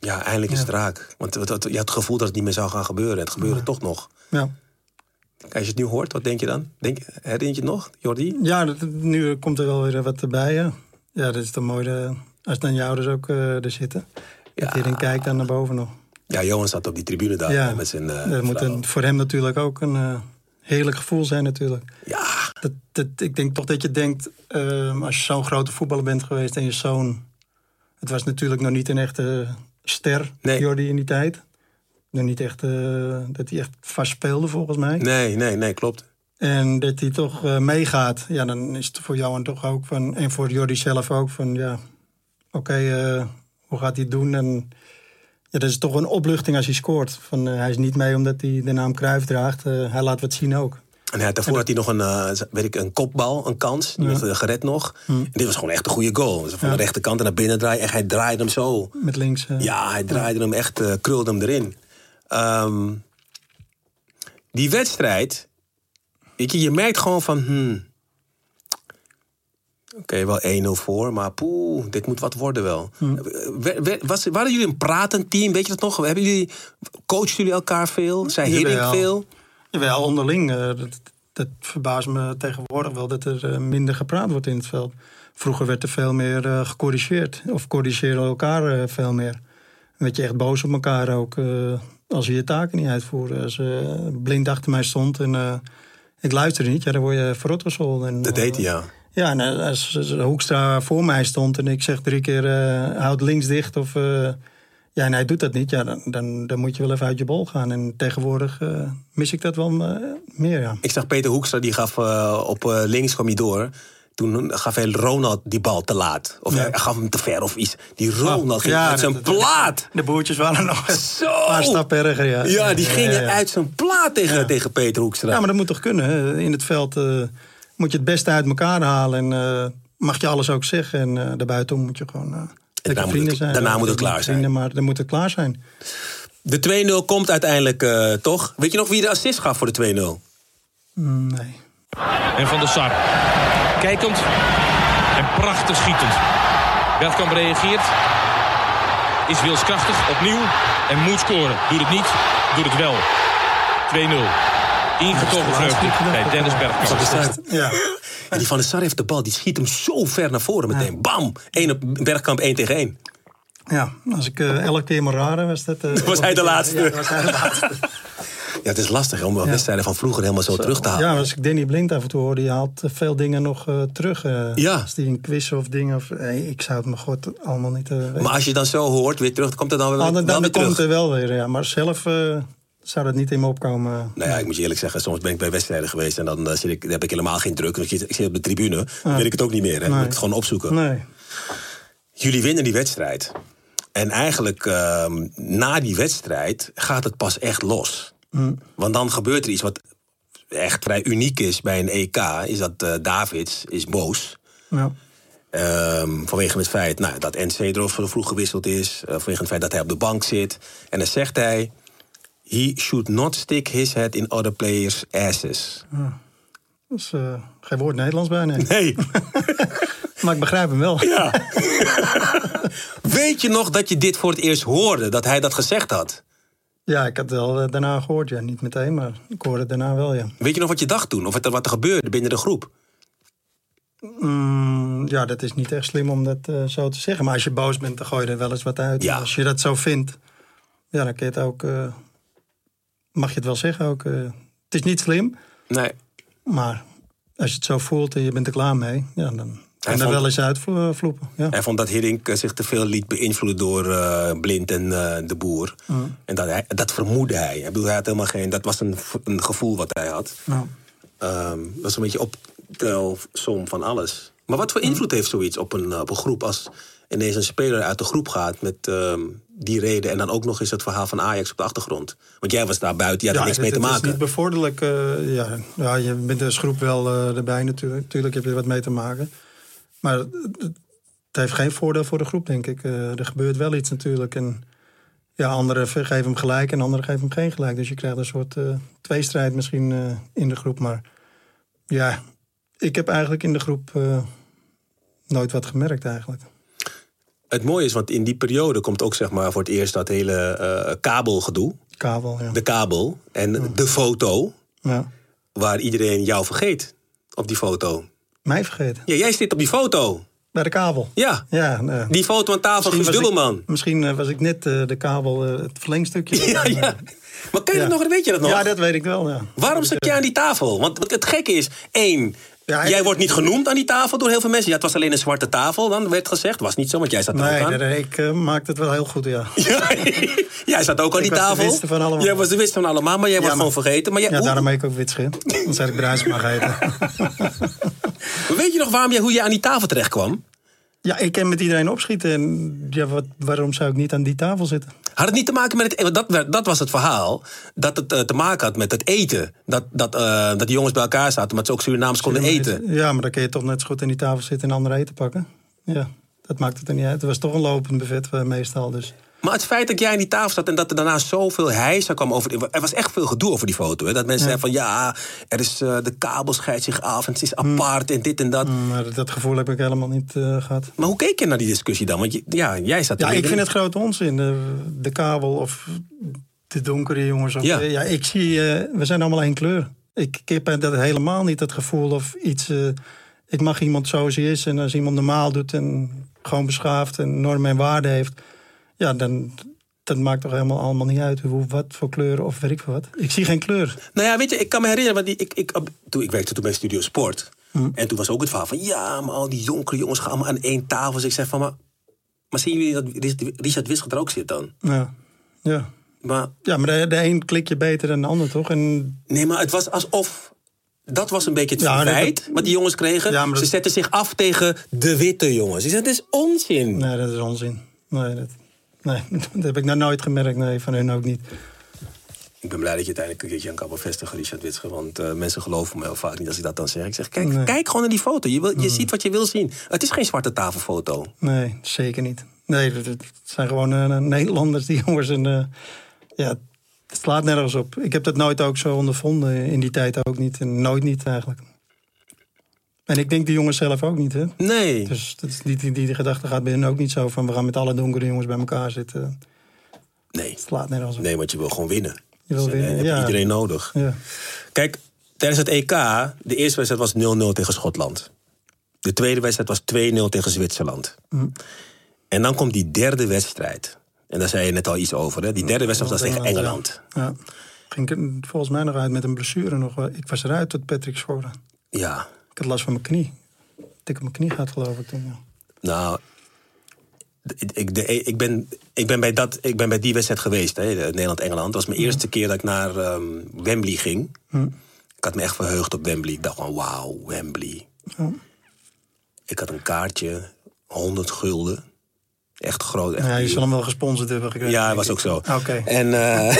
Ja, eindelijk is het raak. Want het- het- je had het gevoel dat het niet meer zou gaan gebeuren. Het gebeurde toch nog. Ja, Als je het nu hoort, wat denk je dan? Denk, herinner je het nog, Jordi? ja dat, nu komt er wel weer wat bij. Ja, ja dat is toch mooi de, als dan je ouders ook eh, er zitten. Ja. Dat je dan kijkt dan naar boven nog. Ja, Johan zat op die tribune daar ja, hè, met zijn eh, dat moet vrouw. een, voor hem natuurlijk ook een eh, heerlijk gevoel zijn natuurlijk. Ja, Dat, dat, ik denk toch dat je denkt, ehm, als je zo'n grote voetballer bent geweest en je zoon... Het was natuurlijk nog niet een echte ster, Nee. Jordi, in die tijd. Nog niet echt eh, dat hij echt vast speelde, volgens mij. nee, nee, nee, klopt. En dat hij toch eh, meegaat. Ja, dan is het voor jou en toch ook van... En voor Jordi zelf ook van, ja... Oké, eh, hoe gaat hij het doen? En ja, dat is toch een opluchting als hij scoort. Van, eh, hij is niet mee omdat hij de naam Cruijff draagt. eh, hij laat wat zien ook. En hij, had- daarvoor had hij nog een, eh, weet ik, een kopbal, een kans. Die werd eh, gered nog. En dit was gewoon echt een goede goal. Dus van de rechterkant en naar binnen draaien. Echt, hij draaide hem zo. Met links. eh, Ja, hij draaide hem echt, eh, krulde hem erin. Ehm, die wedstrijd, weet je, je merkt gewoon van, hmm, oké, wel 1-0 voor, maar poeh, dit moet wat worden wel. We- we- was, waren jullie een pratend team, weet je dat nog? Hebben jullie, coachten jullie elkaar veel? Zijn Jawel. Hiddink veel? Jawel, onderling. eh, dat, dat verbaast me tegenwoordig wel dat er eh, minder gepraat wordt in het veld. Vroeger werd er veel meer eh, gecorrigeerd. Of corrigeren elkaar eh, veel meer. Dan werd je echt boos op elkaar ook. eh, als je je taken niet uitvoerde. Als eh, blind achter mij stond en eh, ik luisterde niet. Ja, dan word je verrot gescholden. En, Dat deed eh, hij, ja. ja, en eh, als als Hoekstra voor mij stond en ik zeg drie keer eh, houd links dicht of eh, ja, en hij doet dat niet, ja, dan, dan, dan moet je wel even uit je bol gaan. En tegenwoordig eh, mis ik dat wel eh, meer, ja. Ik zag Peter Hoekstra, die gaf eh, op eh, links kwam hij door. Toen gaf hij Ronald die bal te laat. Of Ja. Ah, hij gaf hem te ver of iets. Die Ronald ging Ja, uit zijn dat- dat- plaat. De boertjes waren nog Zo! een paar stappen erger, ja. Ja, die gingen ja, ja. uit zijn plaat tegen, tegen Peter Hoekstra. Ja, maar dat moet toch kunnen. hè? In het veld eh, moet je het beste uit elkaar halen en eh, mag je alles ook zeggen. En eh, daarbuitenom moet je gewoon... eh, lekker moet vrienden het- daarna Ja, moet het niet klaar zijn. vrienden, Maar dan moet het klaar zijn. De 2-0 komt uiteindelijk eh, toch. Weet je nog wie de assist gaf voor de 2-0? Nee. en Van der Sar. Kijkend en prachtig schietend. Bergkamp reageert. Is wilskrachtig opnieuw en moet scoren. Doet het niet, doet het wel. 2-0. Ingetogen vreugde bij Dennis Van der Bergkamp. Sar. Ja. En die Van der Sar heeft de bal. Die schiet hem zo ver naar voren meteen. Bam! Eén op Bergkamp 1 tegen 1. Ja, als ik eh, elke keer maar raden was dat... eh, Was hij de laatste? Ja, was hij de laatste. Ja, het is lastig hè, om wel wedstrijden van vroeger helemaal zo, terug te halen. ja, maar als ik Danny Blind af en toe hoorde, je haalt eh, veel dingen nog eh, terug. eh, Ja. Als die een quiz of dingen... Of, nee, ik zou het me god allemaal niet eh, weten. Maar als je dan zo hoort, weer terug, komt het dan weer, Ah, dan- dan dan weer terug. komt er wel weer, ja. Maar zelf eh, zou dat niet in me opkomen. Nou ja, ik moet je eerlijk zeggen, soms ben ik bij wedstrijden geweest en dan, eh, zit ik, dan heb ik helemaal geen druk. Ik zit, ik zit op de tribune, dan weet ik het ook niet meer. Hè. Dan moet ik het gewoon opzoeken. Nee. Jullie winnen die wedstrijd. En eigenlijk ehm, na die wedstrijd gaat het pas echt los. Mm. Want dan gebeurt er iets wat echt vrij uniek is bij een EK. Is dat eh, Davids is boos. Ja. Ehm, vanwege het feit nou, dat NC er zo vroeg gewisseld is. eh, vanwege het feit dat hij op de bank zit. En dan zegt hij... He should not stick his head in other players' asses. Dus eh, geen woord Nederlands bij, nee. Nee, Maar ik begrijp hem wel. ja. Weet je nog dat je dit voor het eerst hoorde? Dat hij dat gezegd had? Ja, ik had het wel eh, daarna gehoord, ja. Niet meteen, maar ik hoorde het daarna wel, ja. Weet je nog wat je dacht toen? Of wat er, wat er gebeurde binnen de groep? Mm, ja, dat is niet echt slim om dat eh, zo te zeggen. Maar als je boos bent, dan gooi je er wel eens wat uit. Ja. Als je dat zo vindt. ja, dan kun je het ook, eh, mag je het wel zeggen ook. eh, het is niet slim, Nee. maar als je het zo voelt en je bent er klaar mee, ja, dan kan er vond- wel eens uitvloepen. Ja. Hij vond dat Hiddink eh, zich te veel liet beïnvloeden door eh, Blind en eh, de boer. Mm. En dat, hij, dat vermoedde hij. Ik bedoel, hij had helemaal geen, dat was een, v- een gevoel wat hij had. Nou, Ehm, dat was een beetje optelsom van alles. Maar wat voor Mm. invloed heeft zoiets op een, eh, op een groep als ineens een speler uit de groep gaat met ehm, die reden en dan ook nog eens het verhaal van Ajax op de achtergrond? Want jij was daar buiten, je had er niks mee te het- Het is maken. niet bevorderlijk. eh, ja. ja, je bent als groep wel eh, erbij natuurlijk. Tuurlijk heb je er wat mee te maken. Maar het, het- het heeft geen voordeel voor de groep, denk ik. Eh, er gebeurt wel iets natuurlijk. En ja, anderen ver- geven hem gelijk en anderen geven hem geen gelijk. Dus je krijgt een soort eh, tweestrijd misschien eh, in de groep. Maar ja, ik heb eigenlijk in de groep eh, nooit wat gemerkt eigenlijk. Het mooie is, want in die periode komt ook zeg maar, voor het eerst dat hele eh, kabelgedoe. Kabel, ja. De kabel en Mm. de foto. ja. waar iedereen jou vergeet op die foto. Mij vergeten. Ja, jij zit op die foto. Bij de kabel. Ja, Ja, nou, nee. die foto aan tafel van Guus was Dubbelman. Ik, misschien eh, was ik net eh, de kabel, eh, het verlengstukje. Ja, ja. Maar kan je dat Ja. nog, weet je dat nog? Ja, dat weet ik wel, ja. eh, Waarom zat jij aan die tafel? Want wat het gekke is, één, Ja, hij- jij wordt niet genoemd aan die tafel door heel veel mensen. Ja, het was alleen een zwarte tafel, dan werd gezegd. Was niet zo, want jij zat er ook Nee, aan. nee, nee, ik eh, maakte het wel heel goed, ja. Ja, jij zat ook aan die was de tafel. witste van allemaal. Jij was de witste van allemaal, maar jij wordt maar- gewoon vergeten. Maar jij, Ja, hoe- daarom heet ik ook witschin. Dan zei ik bruis mag heten. weet je nog waarom jij, hoe jij aan die tafel terecht kwam? Ja, ik kan met iedereen opschieten. En ja, wat, waarom zou ik niet aan die tafel zitten? Had het niet te maken met het. e-, want Dat, werd- dat was het verhaal. Dat het eh, te maken had met het eten. Dat, dat, eh, dat die jongens bij elkaar zaten, omdat ze ook Surinaams konden eten. Ja, maar dan kun je toch net zo goed aan die tafel zitten en andere eten pakken. Ja, dat maakt het er niet uit. Het was toch een lopend buffet eh, meestal, dus... Maar het feit dat jij aan die tafel zat en dat er daarna zoveel heisa kwam over. Er was echt veel gedoe over die foto. Hè? Dat mensen zeiden van ja, er is, eh, de kabel scheidt zich af en het is Mm. apart en dit en dat. Maar dat gevoel heb ik helemaal niet eh, gehad. Maar hoe keek je naar die discussie dan? Want je- ja, jij zat er Ja, ik middenin. vind het grote onzin. De, de kabel of de donkere jongens. Of, Ja. ja. ik zie, eh, we zijn allemaal één kleur. Ik, ik heb dat helemaal niet het gevoel of iets. eh, ik mag iemand zoals hij is. En als iemand normaal doet en gewoon beschaafd en normen en waarden heeft. Ja, dan dat maakt toch helemaal allemaal niet uit. Hoe, wat voor kleur of weet ik veel wat. Ik zie geen kleur. Nou ja, weet je, ik kan me herinneren, want die- ik, ik, op- toen, ik werkte toen bij Studio Sport. Hmm. En toen was ook het verhaal van, ja, maar al die jonkere jongens gaan allemaal aan één tafel. Dus ik zeg van, maar, maar zien jullie dat Richard- Richard Wissel er ook zit dan? Ja, ja. Maar ja maar de, de een klik je beter dan de ander, toch? En nee, maar het was alsof, dat was een beetje het Ja, dat- verwijt wat die jongens kregen. Ja, maar Ze dat- zetten zich af tegen de witte jongens. Ik zeg, dat is onzin. Nee, dat is onzin. Nee, dat, nee, dat heb ik nou nooit gemerkt. Nee, van hun ook niet. Ik ben blij dat je uiteindelijk een keertje aan kan bevestigen, Richard Witsche. Want eh, mensen geloven me heel vaak niet als ik dat dan zeg. Ik zeg, kijk, Nee. Hmm. kijk gewoon naar die foto. Je, wil, je ziet wat je wil zien. Het is geen zwarte tafelfoto. Nee, zeker niet. Nee, dat, dat zijn gewoon eh, Nederlanders, die jongens. En, eh, ja, het slaat nergens op. Ik heb dat nooit ook zo ondervonden. eh, In die tijd ook niet. En nooit niet eigenlijk. En ik denk die jongens zelf ook niet, hè? Nee. Dus dat is niet, die, die gedachte gaat bij hen ook niet zo van... we gaan met alle donkere jongens bij elkaar zitten. Het Nee. slaat nergens op. Nee, want je wil gewoon winnen. Je wil Dus, eh, winnen, heb je ja. iedereen nodig. Ja. Kijk, tijdens het EK, de eerste wedstrijd was 0-0 tegen Schotland. De tweede wedstrijd was 2-0 tegen Zwitserland. Mm. En dan komt die derde wedstrijd. En daar zei je net al iets over, hè? Mm. Die derde wedstrijd was tegen Engeland. Ja. Ging ik er volgens mij nog uit met een blessure. Nog. wel. Ik was eruit tot Patrick schoorde. Ja. Ik had last van mijn knie. Dik op mijn knie gaat geloof ik toen. Ja. Nou, d- ik, de- ik, ben, ik, ben bij dat, ik ben bij die wedstrijd geweest, hè, de- Nederland-Engeland. Dat was mijn eerste keer dat ik naar ehm, Wembley ging. Ik had me echt verheugd op Wembley. Ik dacht van, wauw, Wembley. Ik had een kaartje, 100 gulden. Echt groot. Echt Ja, je duur. zal hem wel gesponsord hebben gekregen. Ja, denk was ik. ook zo. Oké. En, eh,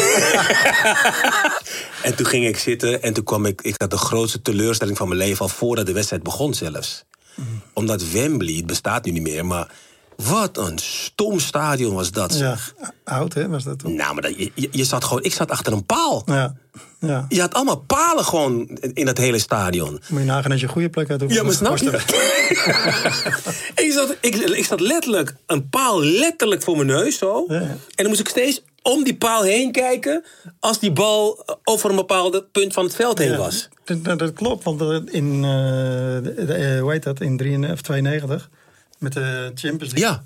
en toen ging ik zitten en toen kwam ik... Ik had de grootste teleurstelling van mijn leven al voordat de wedstrijd begon zelfs. Mhm. Omdat Wembley, het bestaat nu niet meer, maar... Wat een stom stadion was dat. Ja, zeg. oud hè, was dat toen? Nou, maar dat, je, je- je zat gewoon... Ik zat achter een paal. Ja. ja. Je had allemaal palen gewoon in- in dat hele stadion. Moet je nagaan dat je een goede plek uit hoeft. Ja, maar snap je? ik, zat, ik, ik zat letterlijk een paal letterlijk voor mijn neus zo. Ja. En dan moest ik steeds om die paal heen kijken... als die bal over een bepaalde punt van het veld heen was. Dat, dat- dat klopt, want eh, in, eh, de- de- eh, hoe heet dat, in 93 of 92 met de Champions League. Ja.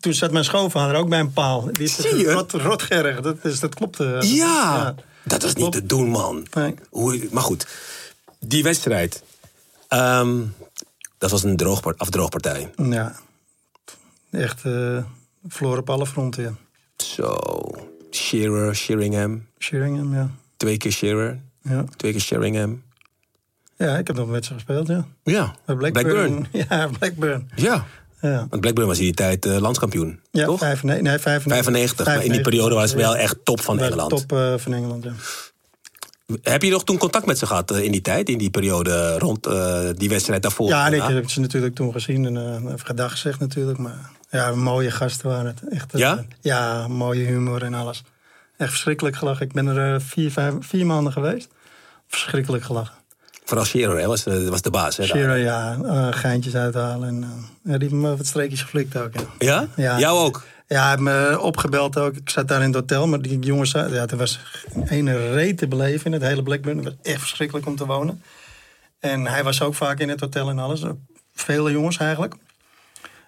Toen zat mijn schoonvader ook bij een paal. Die Zie je? Rot, rotgerrig, dat, is, dat klopt. eh. Ja, dat is niet te doen, man. Nee. Hoe, maar goed, die wedstrijd. ehm, dat was een droogpart- afdroogpartij. Ja. Echt eh verloren op alle fronten, ja. Zo, Shearer, Sheringham. Sheringham, ja. Twee keer Shearer, ja. twee keer Sheringham. Ja, ik heb nog een wedstrijd gespeeld, ja. Ja, Bij Blackburn. Ja, Blackburn. Ja, Ja, want Blackburn was in die tijd eh, landskampioen, ja toch? 95, nee, 95. 95, maar in die periode was ze wel echt top van Bij de Engeland. Top eh, van Engeland, ja. Heb je nog toen contact met ze gehad eh, in die tijd, in die periode rond eh, die wedstrijd daarvoor? Ja, en ik Daarna? heb ze natuurlijk toen gezien en eh, even gedag gezegd natuurlijk. Maar ja, mooie gasten waren het. Echt, eh, Ja? ja, mooie humor en alles. Echt verschrikkelijk gelachen. Ik ben er eh, vier, vijf, vier maanden geweest. Verschrikkelijk gelachen. Vooral Shearer hè, was, eh, was de baas. Hè, daar. Shearer, ja, eh, geintjes uithalen. En, eh, ja, die heeft me wat streekjes geflikt ook. Ja? Ja? Ja. Jou ook? Ja, hij heeft me opgebeld ook. Ik zat daar in het hotel, maar die jongens... zaten- Ja, er was geen ene reet te beleven in het hele Blackburn. Het was echt verschrikkelijk om te wonen. En hij was ook vaak in het hotel en alles. Vele jongens eigenlijk.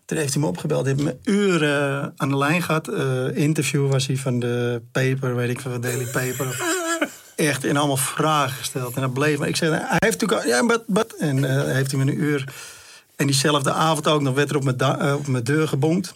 Toen heeft hij me opgebeld. Hij heeft me uren aan de lijn gehad. Eh, interview was hij van de paper, weet ik veel, van Daily Paper. Echt, en allemaal vragen gesteld. En dat bleef maar. Ik zei, hij heeft natuurlijk... al- Ja, maar wat? En eh, heeft hij me een uur... En diezelfde avond ook nog werd er op mijn, da- eh, op mijn deur gebonkt.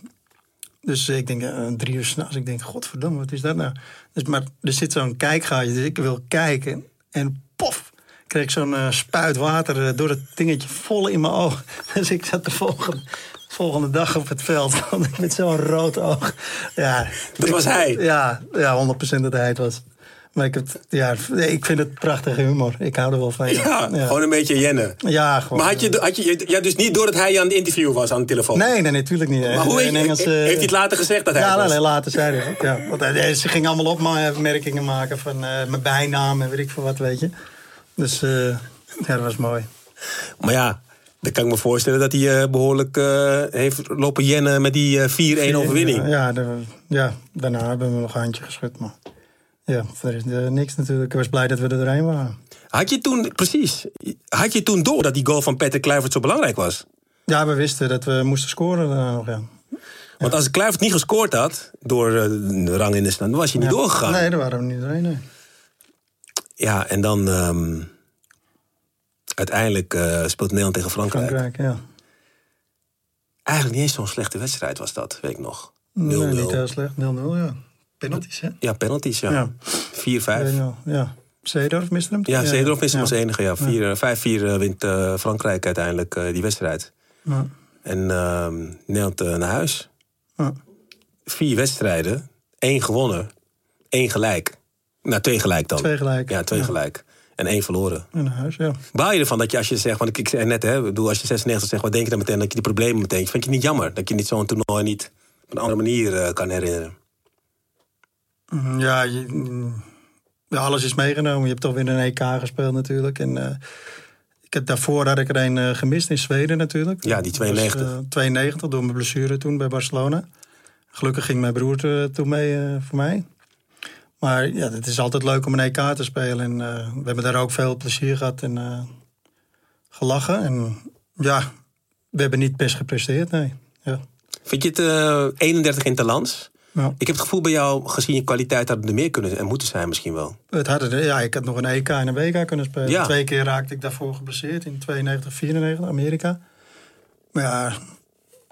Dus ik denk, eh, drie uur s'nachts. Ik denk, godverdomme, wat is dat nou? Dus, maar er zit zo'n kijkgaatje, dus ik wil kijken. En pof, kreeg ik zo'n eh, spuit water eh, door het dingetje vol in mijn oog. Dus ik zat de volgende, volgende dag op het veld met zo'n rood oog. Ja, Dat was hij? Ja, ja 100% dat hij het was. Maar ik, heb, het- ja, ik vind het prachtige humor. Ik hou er wel van. Ja, gewoon een beetje jennen. Ja, gewoon. Maar had je, had je, je had dus niet door dat hij aan het interview was aan de telefoon? Nee, nee, natuurlijk niet. Maar hoe In heeft, Engels, eh, heeft hij het later gezegd dat hij ja, het was? nee, later zei hij dat. Ja. Want hij- ze gingen allemaal opmerkingen maken van eh, mijn bijnaam en weet ik veel wat, weet je. Dus eh, ja, dat was mooi. Maar ja, dan kan ik me voorstellen dat hij eh, behoorlijk eh, heeft lopen jennen met die eh, 4-1 overwinning. Ja, ja, de- ja, daarna hebben we nog een handje geschud. Maar ja, er is eh, niks natuurlijk. Ik was blij dat we er doorheen waren. Had je toen, precies, had je toen door dat die goal van Patrick Kluivert zo belangrijk was? Ja, we wisten dat we moesten scoren daarna nog, ja. Want als Kluivert niet gescoord had, door eh, een rang in de stand, dan was je niet doorgegaan. Nee, daar waren we niet doorheen, nee. Ja, en dan ehm, uiteindelijk eh, speelt Nederland tegen Frankrijk. Frankrijk, ja. Eigenlijk niet eens zo'n slechte wedstrijd was dat, weet ik nog. 0-0. Nee, niet heel slecht. 0-0, ja. Penalties, hè? Ja, penalties, ja. Ja. 4-5. 1-0, Ja. Zeedorf miste hem? toch? Ja, Zeedorf is ja. hem als enige. Ja. 4, 5-4 eh, wint eh, Frankrijk uiteindelijk eh, die wedstrijd. Ja. En ehm Nederland eh, naar huis. Ja. Vier wedstrijden, één gewonnen, één gelijk. Nou, twee gelijk dan. Twee gelijk. Ja, twee gelijk. En één verloren. In huis, ja. Baal je ervan dat je als je zegt, want ik, ik zei net, hè, ik bedoel, als je 96 zegt, wat denk je dan meteen dat je die problemen meteen. Vind je het niet jammer dat je niet zo'n toernooi niet op een andere manier eh, kan herinneren? Ja, je- mm, ja, alles is meegenomen. Je hebt toch weer een EK gespeeld natuurlijk. En, eh, ik had, daarvoor had ik er een eh, gemist in Zweden natuurlijk. Ja, die Dat was, 92. eh, 92 door mijn blessure toen bij Barcelona. Gelukkig ging mijn broer er, eh, toen mee eh, voor mij. Maar ja, het is altijd leuk om een EK te spelen. En eh, we hebben daar ook veel plezier gehad en eh, gelachen. En ja, we hebben niet best gepresteerd, nee. Ja. Vind je het eh 31 in talans? Nou. Ik heb het gevoel bij jou, gezien je kwaliteit, had het er meer kunnen en moeten zijn misschien wel. Het had er- ja, ik had nog een EK en een WK kunnen spelen. Ja. Twee keer raakte ik daarvoor geblesseerd in 92, 94, Amerika. Maar ja,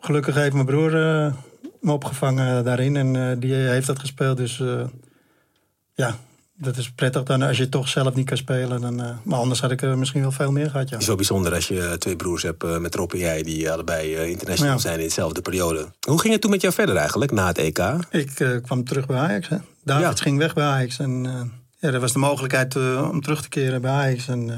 gelukkig heeft mijn broer eh, me opgevangen daarin en eh, die heeft dat gespeeld. Dus eh, ja, dat is prettig dan als je toch zelf niet kan spelen. Dan, eh, maar anders had ik er misschien wel veel meer gehad, ja. Het is wel bijzonder als je eh, twee broers hebt eh, met Rob en jij, die allebei eh, international Ja. zijn in dezelfde periode. Hoe ging het toen met jou verder eigenlijk, na het EK? Ik eh, kwam terug bij Ajax. Hè. Davids Ja. ging weg bij Ajax. En eh, ja, er was de mogelijkheid eh, om terug te keren bij Ajax. En eh,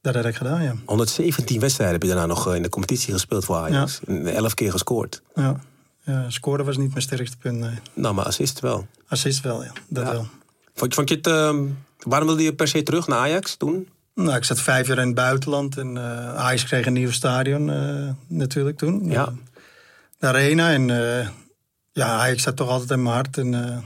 dat heb ik gedaan, ja. 117 wedstrijden heb je daarna nog eh, in de competitie gespeeld voor Ajax. En 11 keer gescoord. ja. ja scoren was niet mijn sterkste punt, nee. Nou, maar assist wel. Assist Ah, wel, ja. Dat Ja. wel. Vond, vond je het, ehm, waarom wilde je per se terug naar Ajax toen? Nou, ik zat vijf jaar in het buitenland en eh Ajax kreeg een nieuw stadion eh, natuurlijk toen. Ja. De Arena en eh, ja, Ajax zat toch altijd in mijn hart. En eh,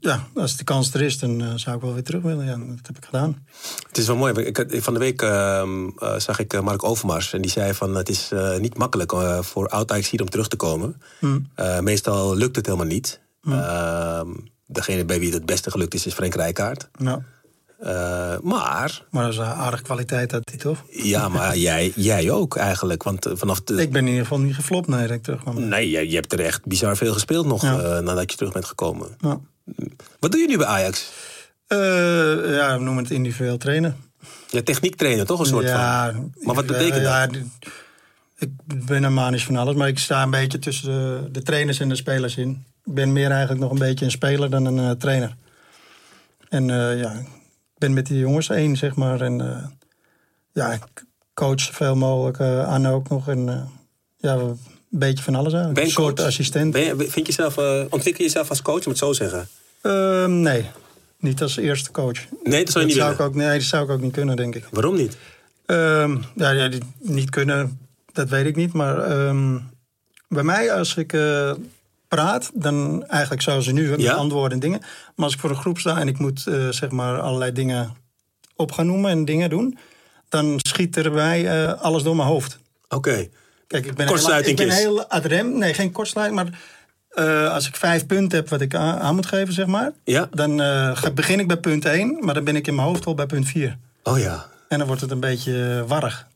Ja, als de kans er is, dan eh, zou ik wel weer terug willen. Ja, dat heb ik gedaan. Het is wel mooi. Ik, ik- van de week ehm, eh, zag ik eh, Mark Overmars. En die zei van het is eh, niet makkelijk eh, voor oud hier om terug te komen. Hmm. Eh, meestal lukt het helemaal niet. Ehm, degene bij wie het het beste gelukt is, is Frank Rijkaard. Nou, Eh, maar, maar dat is een aardige kwaliteit had hij toch? ja, maar jij, jij ook eigenlijk. Want eh, vanaf de... Ik ben in ieder geval niet geflopt, nee, dat ik terugkwam. Nee, je, je hebt er echt bizar veel gespeeld nog Ja. eh, nadat je terug bent gekomen. Nou, Wat doe je nu bij Ajax? eh, ja, we noemen het individueel trainen. Ja, techniek trainen toch een soort ja, van? Maar wat ik- eh, betekent ja, dat? d- ik ben een manisch van alles, maar ik sta een beetje tussen de, de trainers en de spelers in. Ik ben meer eigenlijk nog een beetje een speler dan een eh, trainer. En eh, ja, ik ben met die jongens één, zeg maar. En eh, ja, ik coach zoveel mogelijk eh, aan ook nog. En eh, ja, we- een beetje van alles eigenlijk. Ben je een soort coach? assistent. Ben je- vind je jezelf, eh, ontwikkel je jezelf als coach, moet ik het zo zeggen? Ehm, nee, niet als eerste coach. Nee, dat zou je niet zou willen. ik ook, nee, dat zou ik ook niet kunnen, denk ik. Waarom niet? Ehm, ja, ja, die niet kunnen, dat weet ik niet. Maar ehm, bij mij, als ik eh, praat, dan eigenlijk zoals ze nu, hè, met Ja? antwoorden en dingen. Maar als ik voor een groep sta en ik moet eh, zeg maar allerlei dingen op gaan noemen en dingen doen, dan schiet er bij mij, eh, alles door mijn hoofd. Oké. Kijk, ik ben Kortsluiting heel, ik ben is. heel ad rem. Nee, geen kortsluiting, maar eh, als ik vijf punten heb wat ik aan, aan moet geven, zeg maar, Ja. dan eh, ga- begin ik bij punt 1, maar dan ben ik in mijn hoofd al bij punt 4. Oh ja. En dan wordt het een beetje eh, warrig.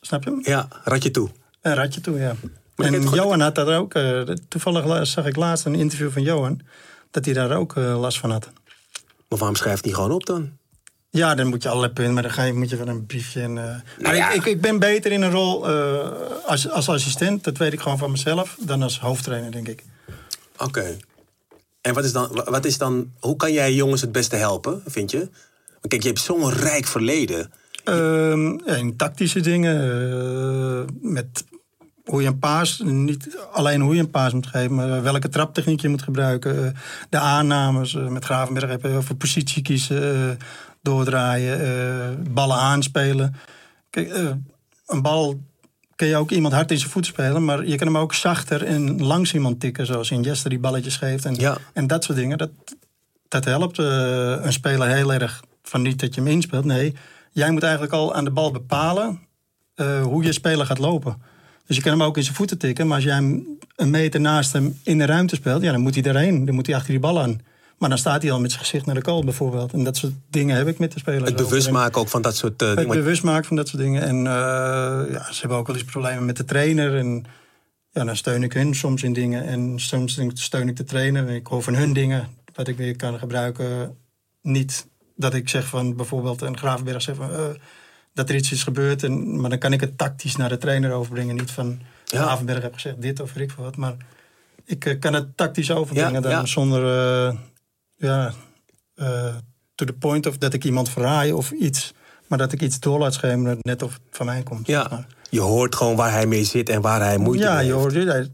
Snap je? Ja, ratje toe. Een ratje toe, ja. Maar ik heb en het goed- Johan had daar ook... eh, toevallig la- zag ik laatst een interview van Johan... dat hij daar ook eh, last van had. Maar waarom schrijft hij gewoon op dan? Ja, dan moet je allerlei punten, maar dan ga je, moet je wel een briefje. En, eh, maar ja. ik, ik, ik ben beter in een rol eh, als, als assistent, dat weet ik gewoon van mezelf, dan als hoofdtrainer, denk ik. Oké. En wat is, dan, wa- wat is dan, hoe kan jij jongens het beste helpen, vind je? Want kijk, je hebt zo'n rijk verleden. Ehm, ja, in tactische dingen, eh, met hoe je een paas, niet alleen hoe je een paas moet geven, maar welke traptechniek je moet gebruiken. eh, de aannames, eh, met Gravenberg heb je heel veel positie kiezen, eh, doordraaien, eh, ballen aanspelen. Kijk, eh, een bal kun je ook iemand hard in zijn voet spelen, maar je kan hem ook zachter en langs iemand tikken, zoals Jester die balletjes geeft. En, Ja. en dat soort dingen, dat, dat helpt eh, een speler heel erg van niet dat je hem inspeelt. Nee, jij moet eigenlijk al aan de bal bepalen eh, hoe je speler gaat lopen. Dus je kan hem ook in zijn voeten tikken, maar als jij hem een meter naast hem in de ruimte speelt, ja, dan moet hij daarheen, dan moet hij achter die bal aan. Maar dan staat hij al met zijn gezicht naar de goal bijvoorbeeld. En dat soort dingen heb ik met de spelers. Het over. bewust En- maken ook van dat soort eh, het dingen. bewust maken van dat soort dingen. En eh, ja, ze hebben ook wel eens problemen met de trainer. En ja, dan steun ik hun soms in dingen. En soms steun ik de trainer. En ik hoor van hun dingen wat ik weer kan gebruiken. Niet dat ik zeg van bijvoorbeeld een Gravenberg zegt van... eh, dat er iets is gebeurd, en, maar dan kan ik het tactisch naar de trainer overbrengen. Niet van, Ja. Gravenberg heb gezegd dit of weet ik veel wat. Maar ik eh, kan het tactisch overbrengen Ja, dan ja. zonder... eh, ja, eh, to the point of dat ik iemand verraai of iets. Maar dat ik iets door laat schemeren, net of het van mij komt. zeg Ja, maar. je hoort gewoon waar hij mee zit en waar hij moeite ja mee heeft. joh, ja,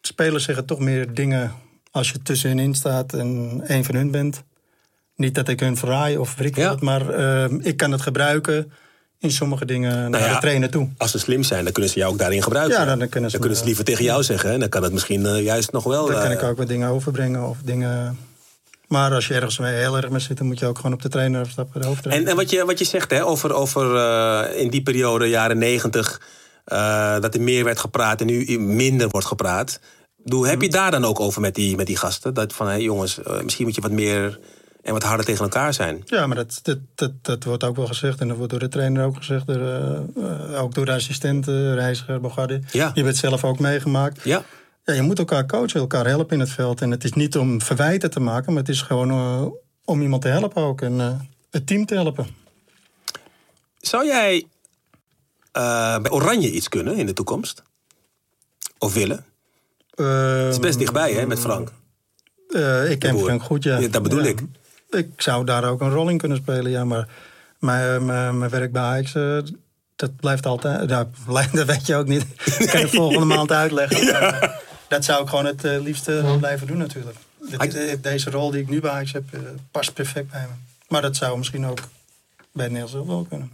spelers zeggen toch meer dingen als je tussenin staat en één van hun bent. Niet dat ik hun verraai of weet ik Ja. wat, maar ehm, ik kan het gebruiken in sommige dingen naar Nou ja, de trainer toe. Als ze slim zijn, dan kunnen ze jou ook daarin gebruiken. Ja, dan- dan kunnen ze me- liever tegen jou zeggen. En dan kan het misschien eh, juist nog wel... Daar kan eh, ik ook wat dingen overbrengen of dingen... Maar als je ergens mee heel erg mee zit, dan moet je ook gewoon op de trainer afstappen, de hoofdtrainer. En, en wat, je, wat je zegt hè, over, over eh, in die periode, jaren negentig, eh, dat er meer werd gepraat en nu minder wordt gepraat. Doe, heb je daar dan ook over met die, met die gasten? Dat van, hé jongens, eh, misschien moet je wat meer en wat harder tegen elkaar zijn. Ja, maar dat, dat, dat, dat wordt ook wel gezegd. En dat wordt door de trainer ook gezegd. Door, eh, eh, ook door de assistenten, Reiziger, Bogarde. Ja. Je bent zelf ook meegemaakt. Ja, Ja, je moet elkaar coachen, elkaar helpen in het veld. En het is niet om verwijten te maken, maar het is gewoon eh, om iemand te helpen ook. En eh, het team te helpen. zou jij eh, bij Oranje iets kunnen in de toekomst? Of willen? Het Het is best dichtbij hè, met Frank. Eh, ik ken Boer. Frank goed, ja. Ja, dat bedoel Ja. ik. Ik zou daar ook een rol in kunnen spelen, ja. Maar mijn, eh, mijn, mijn werk bij Ajax, eh, dat blijft altijd... Dat, blijft, dat weet je ook niet. Ik kan het volgende maand uitleggen. Maar, eh, dat zou ik gewoon het eh, liefste blijven doen natuurlijk. Dit- Had- eh, deze rol die ik nu bij Ajax heb, eh, past perfect bij me. Maar dat zou misschien ook bij het Nederlands elftal wel kunnen.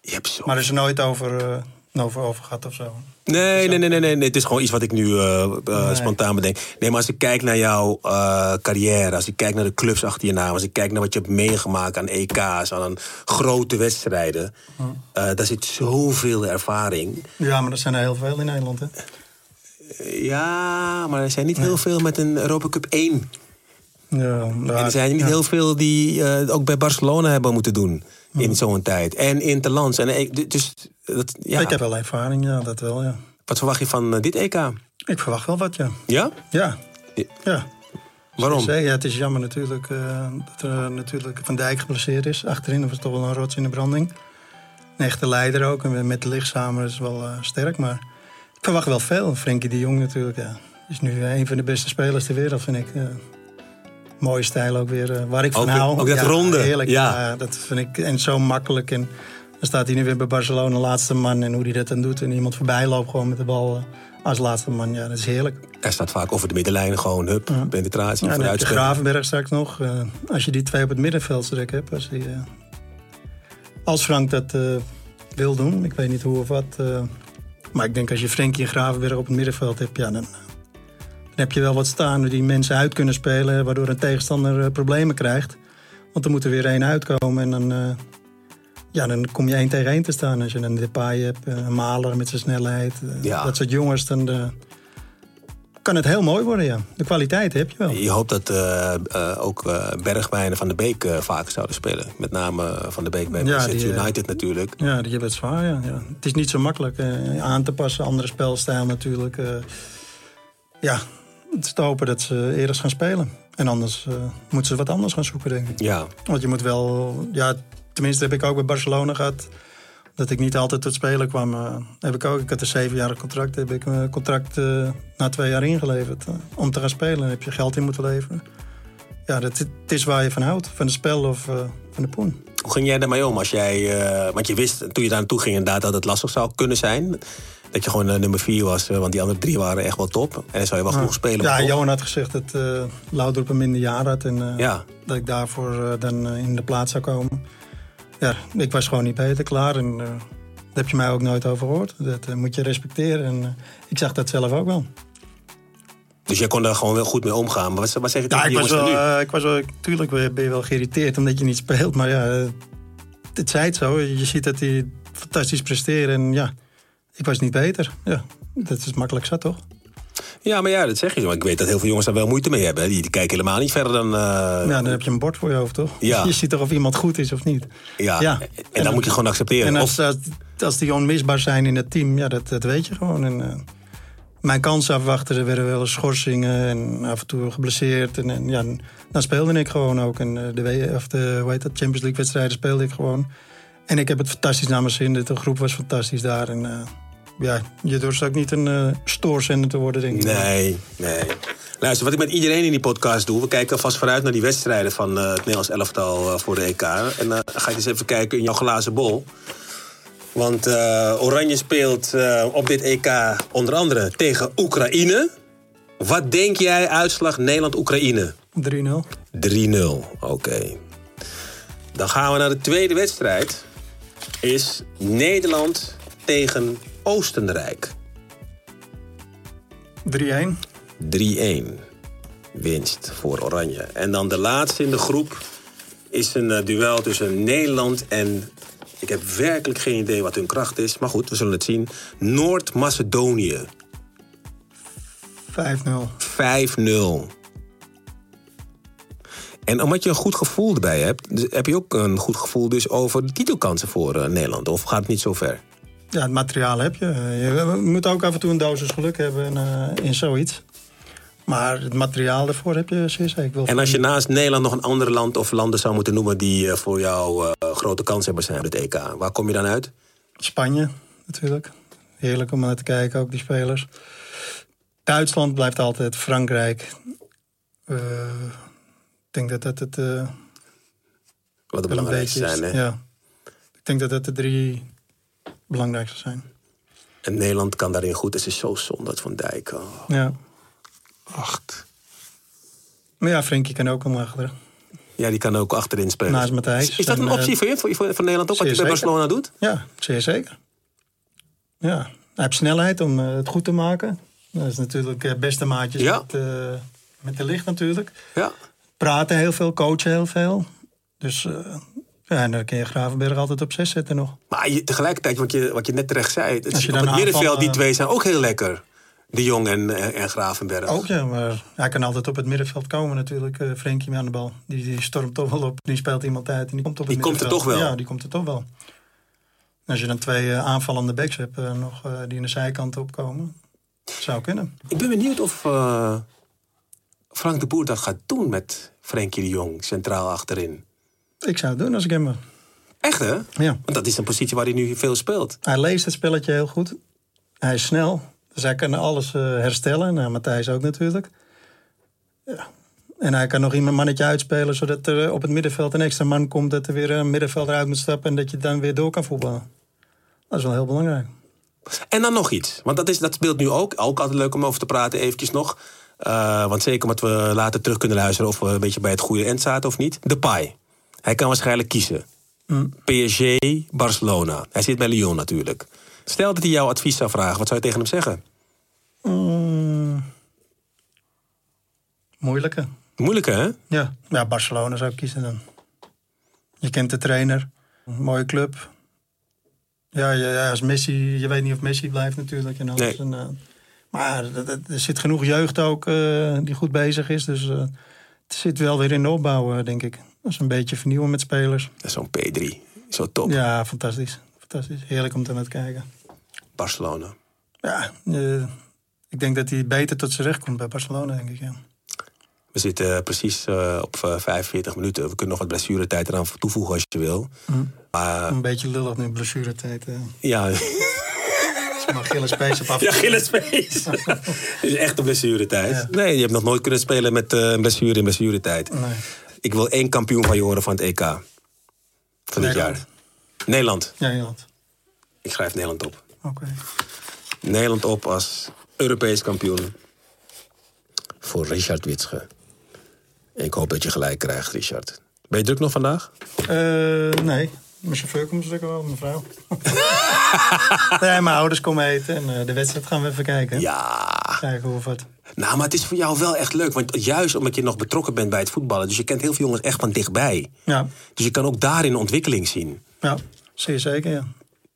Je hebt zo... Maar er is nooit over eh, over, over gehad of zo. Nee, nee, nee, nee, nee, nee. Het is gewoon iets wat ik nu eh, eh, spontaan bedenk. Nee, maar als ik kijk naar jouw eh, carrière, als ik kijk naar de clubs achter je naam, als ik kijk naar wat je hebt meegemaakt aan EK's, aan een grote wedstrijden, Hm. eh, daar zit zoveel ervaring. Ja, maar er zijn er heel veel in Nederland, hè? Eh, ja, maar er zijn niet heel veel met een Europa Cup 1. Ja, en er zijn niet heel veel die eh, ook bij Barcelona hebben moeten doen Hm. in zo'n tijd. En in het land. En, ik- dus, dat, ja. Ik heb wel ervaring, ja, dat wel, ja. Wat verwacht je van eh, dit EK? Ik verwacht wel wat, ja. Ja? Ja. Ja. ja. Waarom? Ja, het is jammer natuurlijk eh, dat er natuurlijk Van Dijk geblesseerd is. Achterin was het toch wel een rots in de branding. Een echte leider ook. En met de lichtzamer is wel eh, sterk. Maar ik verwacht wel veel. Frenkie de Jong natuurlijk. Ja. Is nu eh, een van de beste spelers ter wereld, vind ik. Eh, mooie stijl ook weer. eh, waar ik van Ook- hou. ook dat Ja, ronde. Heerlijk. Ja. Ja. dat vind ik. En zo makkelijk. En dan staat hij nu weer bij Barcelona, laatste man. En hoe hij dat dan doet. En iemand voorbij loopt gewoon met de bal eh, als laatste man. Ja, dat is heerlijk. Hij staat vaak over de middenlijn, gewoon hup, penetratie, Ja, dan heb je vooruitspelen. Gravenberg straks nog. Eh, als je die twee op het middenveld strek hebt. Als, die, eh, als Frank dat eh, wil doen. Ik weet niet hoe of wat. eh, maar ik denk als je Frenkie en Gravenberg op het middenveld hebt. Ja, dan, dan heb je wel wat staan die mensen uit kunnen spelen. Waardoor een tegenstander eh, problemen krijgt. Want er moet er weer één uitkomen. En dan, eh, ja, dan kom je één tegen één te staan. Als je een Depay hebt. eh, Een Maler met zijn snelheid. eh, Ja. Dat soort jongens. Dan eh, kan het heel mooi worden, ja. De kwaliteit heb je wel. Je hoopt dat eh, eh, ook eh Bergwijn en Van der Beek eh, vaker zouden spelen. Met name eh, Van der Beek bij Ja, Manchester die, eh, United natuurlijk. Ja, die hebben het zwaar. Ja. Ja. Het is niet zo makkelijk eh, aan te passen. Andere spelstijl natuurlijk. eh. ja, het is te hopen dat ze eerder gaan spelen. En anders eh, moeten ze wat anders gaan zoeken, denk ik. Ja, Want je moet wel... Ja, tenminste heb ik ook bij Barcelona gehad... dat ik niet altijd tot spelen kwam. eh, heb ik ook. Ik had een zevenjarig contract. Heb ik mijn contract eh, na twee jaar ingeleverd. eh, om te gaan spelen Dan heb je geld in moeten leveren. Ja, dat, het is waar je van houdt. Van het spel of eh, van de poen. hoe ging jij daarmee om? Als jij, eh, want je wist toen je daar naartoe ging inderdaad dat het lastig zou kunnen zijn. Dat je gewoon eh, nummer vier was, eh, want die andere drie waren echt wel top. En dan zou je wel genoeg spelen. maar Ja, toch? Johan had gezegd dat eh Laudrup een minder jaar had. En eh, Ja. dat ik daarvoor eh, dan eh, in de plaats zou komen. Ja, ik was gewoon niet beter klaar. En eh, daar heb je mij ook nooit over gehoord. Dat eh, moet je respecteren. En eh, ik zag dat zelf ook wel. Dus jij kon daar gewoon wel goed mee omgaan. Maar wat, wat zeg je tegen Ja, ik die was jongens wel, dan nu? eh, ik was wel, tuurlijk ben je wel geïrriteerd omdat je niet speelt. Maar ja, eh, het zei het zo. Je ziet dat hij fantastisch presteert. En ja, ik was niet beter. Ja, dat is makkelijk zat, toch? Ja, maar ja, dat zeg je zo. Maar ik weet dat heel veel jongens daar wel moeite mee hebben. Die, die kijken helemaal niet verder dan... eh, Ja, dan heb je een bord voor je hoofd, toch? Ja. Je ziet toch of iemand goed is of niet. ja. ja. En, En dan dan- moet je gewoon accepteren. En Of- als, als, als die onmisbaar zijn in het team, ja, dat, dat weet je gewoon. En, eh, mijn kansen afwachten, er werden wel eens schorsingen en af en toe geblesseerd. En, en ja, dan speelde ik gewoon ook. En eh, de, W- of de hoe heet dat, Champions League wedstrijden speelde ik gewoon. En ik heb het fantastisch naar mijn zin. De groep was fantastisch daar. En eh, ja, je durft ook niet een eh, stoorzender te worden, denk ik. Nee, nee. Luister, wat ik met iedereen in die podcast doe... we kijken vast vooruit naar die wedstrijden van eh, het Nederlands elftal eh, voor de EK. En dan ga ik eens even kijken in jouw glazen bol. Want eh, Oranje speelt eh, op dit EK onder andere tegen Oekraïne. Wat denk jij uitslag Nederland-Oekraïne? 3-0. 3-0, oké. Dan gaan we naar de tweede wedstrijd. Is Nederland tegen Oostenrijk. 3-1. 3-1. Winst voor Oranje. En dan de laatste in de groep is een eh, duel tussen Nederland en... Ik heb werkelijk geen idee wat hun kracht is. Maar goed, we zullen het zien. Noord-Macedonië. 5-0. 5-0. En omdat je een goed gevoel erbij hebt... dus heb je ook een goed gevoel dus over de titelkansen voor eh, Nederland. Of gaat het niet zo ver? Ja, het materiaal heb je. Eh, Je moet ook af en toe een dosis geluk hebben en, eh, in zoiets. Maar het materiaal daarvoor heb je zeer zeker. Ik wil- En als je naast Nederland nog een ander land of landen zou moeten noemen... die eh, voor jou eh, grote kans hebben zijn op het EK. Waar kom je dan uit? Spanje natuurlijk. Heerlijk om naar te kijken, ook die spelers. Duitsland blijft altijd. Frankrijk. Eh, ik denk dat dat het eh, wel Wat de een belangrijkste beetje is. zijn, hè? Ja. Ik denk dat dat de drie belangrijkste zijn. En Nederland kan daarin goed. Het is zo zonde dat Van Dijk. Oh, Ja. acht. Maar ja, Frenkie kan ook om achteren. Ja, die kan ook achterin spelen. Naast Matthijs. Is, is dat En, een eh, optie voor je, voor, voor, voor Nederland ook, wat zeer hij bij zeker. Barcelona doet? Ja, zeer zeker. Ja, hij heeft snelheid om eh, het goed te maken. Dat is natuurlijk eh, beste maatjes Ja. met, eh, met de licht natuurlijk. Ja. Praten heel veel, coachen heel veel. Dus eh, ja, en dan kun je Gravenberg altijd op zes zetten nog. Maar je, tegelijkertijd, wat je, wat je net terecht zei... Het, Als je eh, op het dan middenveld, aanvallen- die twee zijn ook heel lekker. De Jong en, en, en Gravenberg. Ook ja, maar hij kan altijd op het middenveld komen natuurlijk. eh Frenkie met aan de bal. Die, die stormt toch wel op. Die speelt iemand uit en die komt op het Die komt er middenveld. toch wel? Ja, die komt er toch wel. En als je dan twee eh, aanvallende backs hebt eh, nog, eh, die aan de zijkant opkomen. Zou kunnen. Ik ben benieuwd of eh, Frank de Boer dat gaat doen met Frenkie de Jong centraal achterin. Ik zou het doen als ik hem... eh, was. Echt hè? Ja. Want dat is een positie waar hij nu veel speelt. Hij leest het spelletje heel goed. Hij is snel. Dus hij kan alles eh, herstellen. Nou, Matthijs ook natuurlijk. Ja. En hij kan nog iemand mannetje uitspelen... zodat er eh, op het middenveld een extra man komt... dat er weer een middenvelder uit moet stappen... en dat je dan weer door kan voetballen. Dat is wel heel belangrijk. En dan nog iets. Want dat, is, dat speelt nu ook. Ook altijd leuk om over te praten eventjes nog. Eh, want zeker omdat we later terug kunnen luisteren... of we een beetje bij het goede eind zaten of niet. De Pai. Hij kan waarschijnlijk kiezen. PSG, Barcelona. Hij zit bij Lyon natuurlijk. Stel dat hij jouw advies zou vragen. Wat zou je tegen hem zeggen? Mm. Moeilijke. Moeilijk hè? Ja. ja, Barcelona zou ik kiezen dan. Je kent de trainer. Een mooie club. Ja, ja, ja, als Messi... Je weet niet of Messi blijft natuurlijk. En alles. Nee. En, eh, maar dat- dat- er zit genoeg jeugd ook eh, die goed bezig is. Dus eh, het zit wel weer in de opbouw, eh, denk ik. Dat is een beetje vernieuwen met spelers. Dat is Zo'n P3. Zo top. Ja, fantastisch. fantastisch. Heerlijk om te naar te kijken. Barcelona. Ja, eh, ik denk dat hij beter tot zijn recht komt bij Barcelona, denk ik. Ja. We zitten eh, precies eh, op eh, 45 minuten. We kunnen nog wat blessuretijd eraan toevoegen als je wil. Maar Een beetje lullig nu, blessuretijd. eh. ja, Ze mag Gilles Pees op af. ja gillespees. Het is echt een blessuretijd. Ja. Nee, je hebt nog nooit kunnen spelen met eh, een blessure in blessuretijd. Nee. Ik wil één kampioen van je horen van het EK. Van dit Nederland. jaar. Nederland. Ja, Nederland. Ik schrijf Nederland op. Oké. Nederland op als Europees kampioen. Voor Richard Witsche. En ik hoop dat je gelijk krijgt, Richard. Ben je druk nog vandaag? Eh, nee, mijn chauffeur komt natuurlijk wel, mijn vrouw. nee, mijn ouders komen eten en eh, de wedstrijd gaan we even kijken. Ja. Kijken hoe of wat. Nou, maar het is voor jou wel echt leuk. Want juist omdat je nog betrokken bent bij het voetballen. Dus je kent heel veel jongens echt van dichtbij. Ja, Dus je kan ook daarin ontwikkeling zien. ja zeer zeker, ja.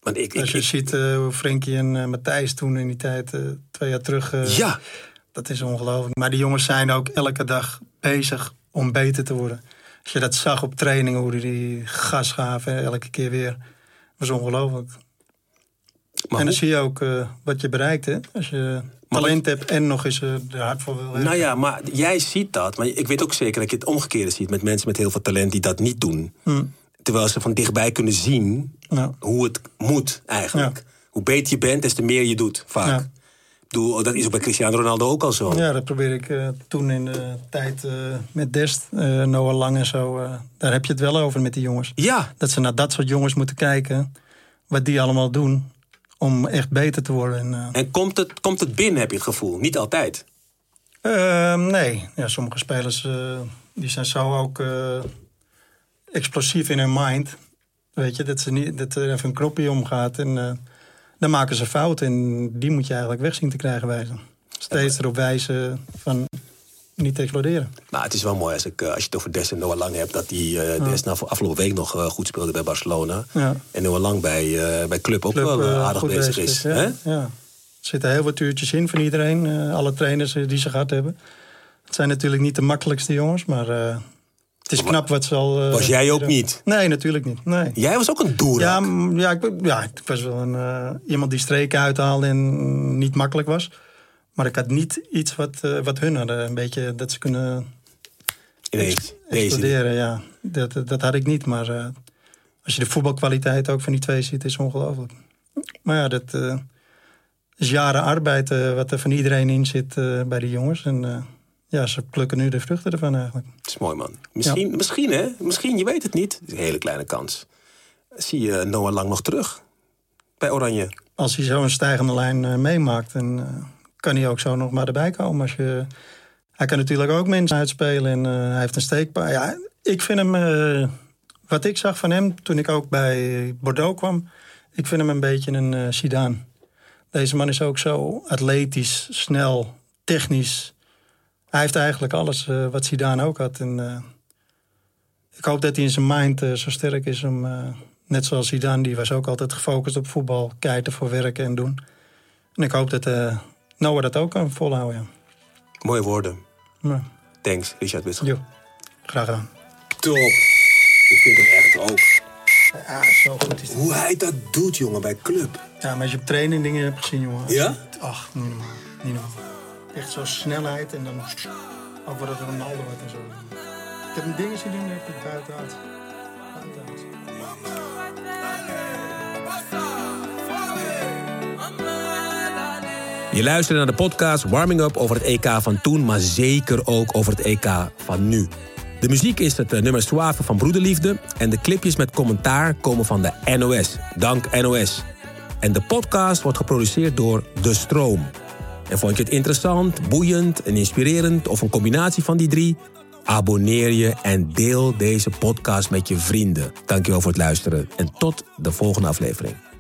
Want ik, ik, Als je ik- ziet eh, hoe Frenkie en eh, Matthijs toen in die tijd, eh, twee jaar terug... eh, ja, Dat is ongelooflijk. Maar die jongens zijn ook elke dag bezig om beter te worden. Als je dat zag op trainingen, hoe die- die gas gaven, eh, elke keer weer. Dat was ongelooflijk. maar en dan hoe- zie je ook eh, wat je bereikt, hè. Als je talent hebt en nog eens eh, er hard voor wil hebben. nou ja, maar jij ziet dat. Maar ik weet ook zeker dat je het omgekeerde ziet met mensen met heel veel talent die dat niet doen. Terwijl ze van dichtbij kunnen zien Hmm. Ja. hoe het moet eigenlijk. Ja. Hoe beter je bent, des te meer je doet vaak. Ja. Ik bedoel, dat is ook bij Cristiano Ronaldo ook al zo. Ja, dat probeer ik eh, toen in de tijd eh, met Dest, eh, Noah Lang en zo. eh, daar heb je het wel over met die jongens. Ja, Dat ze naar dat soort jongens moeten kijken. Wat die allemaal doen om echt beter te worden. En, eh, en komt het, komt het binnen, heb je het gevoel. Niet altijd. Ehm, nee, ja, sommige spelers eh, die zijn zo ook eh, explosief in hun mind. Weet je, dat, ze niet, dat er even een knopje omgaat en eh, dan maken ze fouten. En die moet je eigenlijk weg zien te krijgen wijzen. Steeds erop wijzen van niet exploderen. Nou, het is wel mooi als, ik, eh, als je het over Des en Noah Lang hebt. Dat die eh Des nou voor afgelopen week nog eh, goed speelde bij Barcelona. Ja. En Noah Lang bij, eh, bij Club ook wel eh, eh, aardig goed bezig, is. ja. hè? Ja. Er zitten heel wat uurtjes in van iedereen. eh, alle trainers eh, die ze gehad hebben. Het zijn natuurlijk niet de makkelijkste jongens, maar eh, het is knap wat ze al... eh, Was jij ook hebben. niet? Nee, natuurlijk niet. Nee. Jij was ook een doer. Ja, mm, ja, ik, ben- ja, ik was wel een, eh, iemand die streken uithaalde en mm, niet makkelijk was. Maar ik had niet iets wat, eh, wat hun hadden. Een beetje dat ze kunnen Ineens. Deze. exploderen. Ja. Dat, dat dat had ik niet. Maar eh, als je de voetbalkwaliteit ook van die twee ziet, is het ongelooflijk. Maar ja, dat eh, is jaren arbeid eh, wat er van iedereen in zit eh, bij die jongens. En eh, ja, ze plukken nu de vruchten ervan eigenlijk. Dat is mooi, man. Misschien, Ja. misschien hè? Misschien, je weet het niet. Het is een hele kleine kans. Zie je Noah Lang nog terug bij Oranje? als hij zo'n stijgende lijn eh, meemaakt, dan eh, kan hij ook zo nog maar erbij komen. Als je, hij kan natuurlijk ook mensen uitspelen en eh, hij heeft een steekpaar. Ja, ik vind hem, eh, wat ik zag van hem toen ik ook bij Bordeaux kwam, ik vind hem een beetje een eh Zidane. Deze man is ook zo atletisch, snel, technisch. Hij heeft eigenlijk alles eh, wat Zidane ook had. En, eh, ik hoop dat hij in zijn mind eh, zo sterk is om... eh, net zoals Zidane, die was ook altijd gefocust op voetbal. Kijken voor werken en doen. En ik hoop dat eh Noah dat ook kan volhouden, ja. Mooie woorden. Ja. Thanks, Richard Witsel. Jo, graag gedaan. Top. Ik vind het echt ook. Ja, zo goed is het. Hoe hij dat doet, jongen, bij club. Ja, maar als je op training dingen hebt gezien, jongen. als Ja? je- Ach, niet normaal. Niet normaal. Echt zo'n snelheid en dan... Ook wat het Ronaldo wordt en zo. Ik heb een ding zien doen, daar heb ik buiten uit. Buiten uit. Je luistert naar de podcast Warming Up over het EK van toen, maar zeker ook over het EK van nu. De muziek is het eh, nummer Suave van Broederliefde en de clipjes met commentaar komen van de NOS. Dank NOS. En de podcast wordt geproduceerd door De Stroom. En vond je het interessant, boeiend en inspirerend of een combinatie van die drie? Abonneer je en deel deze podcast met je vrienden. Dankjewel voor het luisteren en tot de volgende aflevering.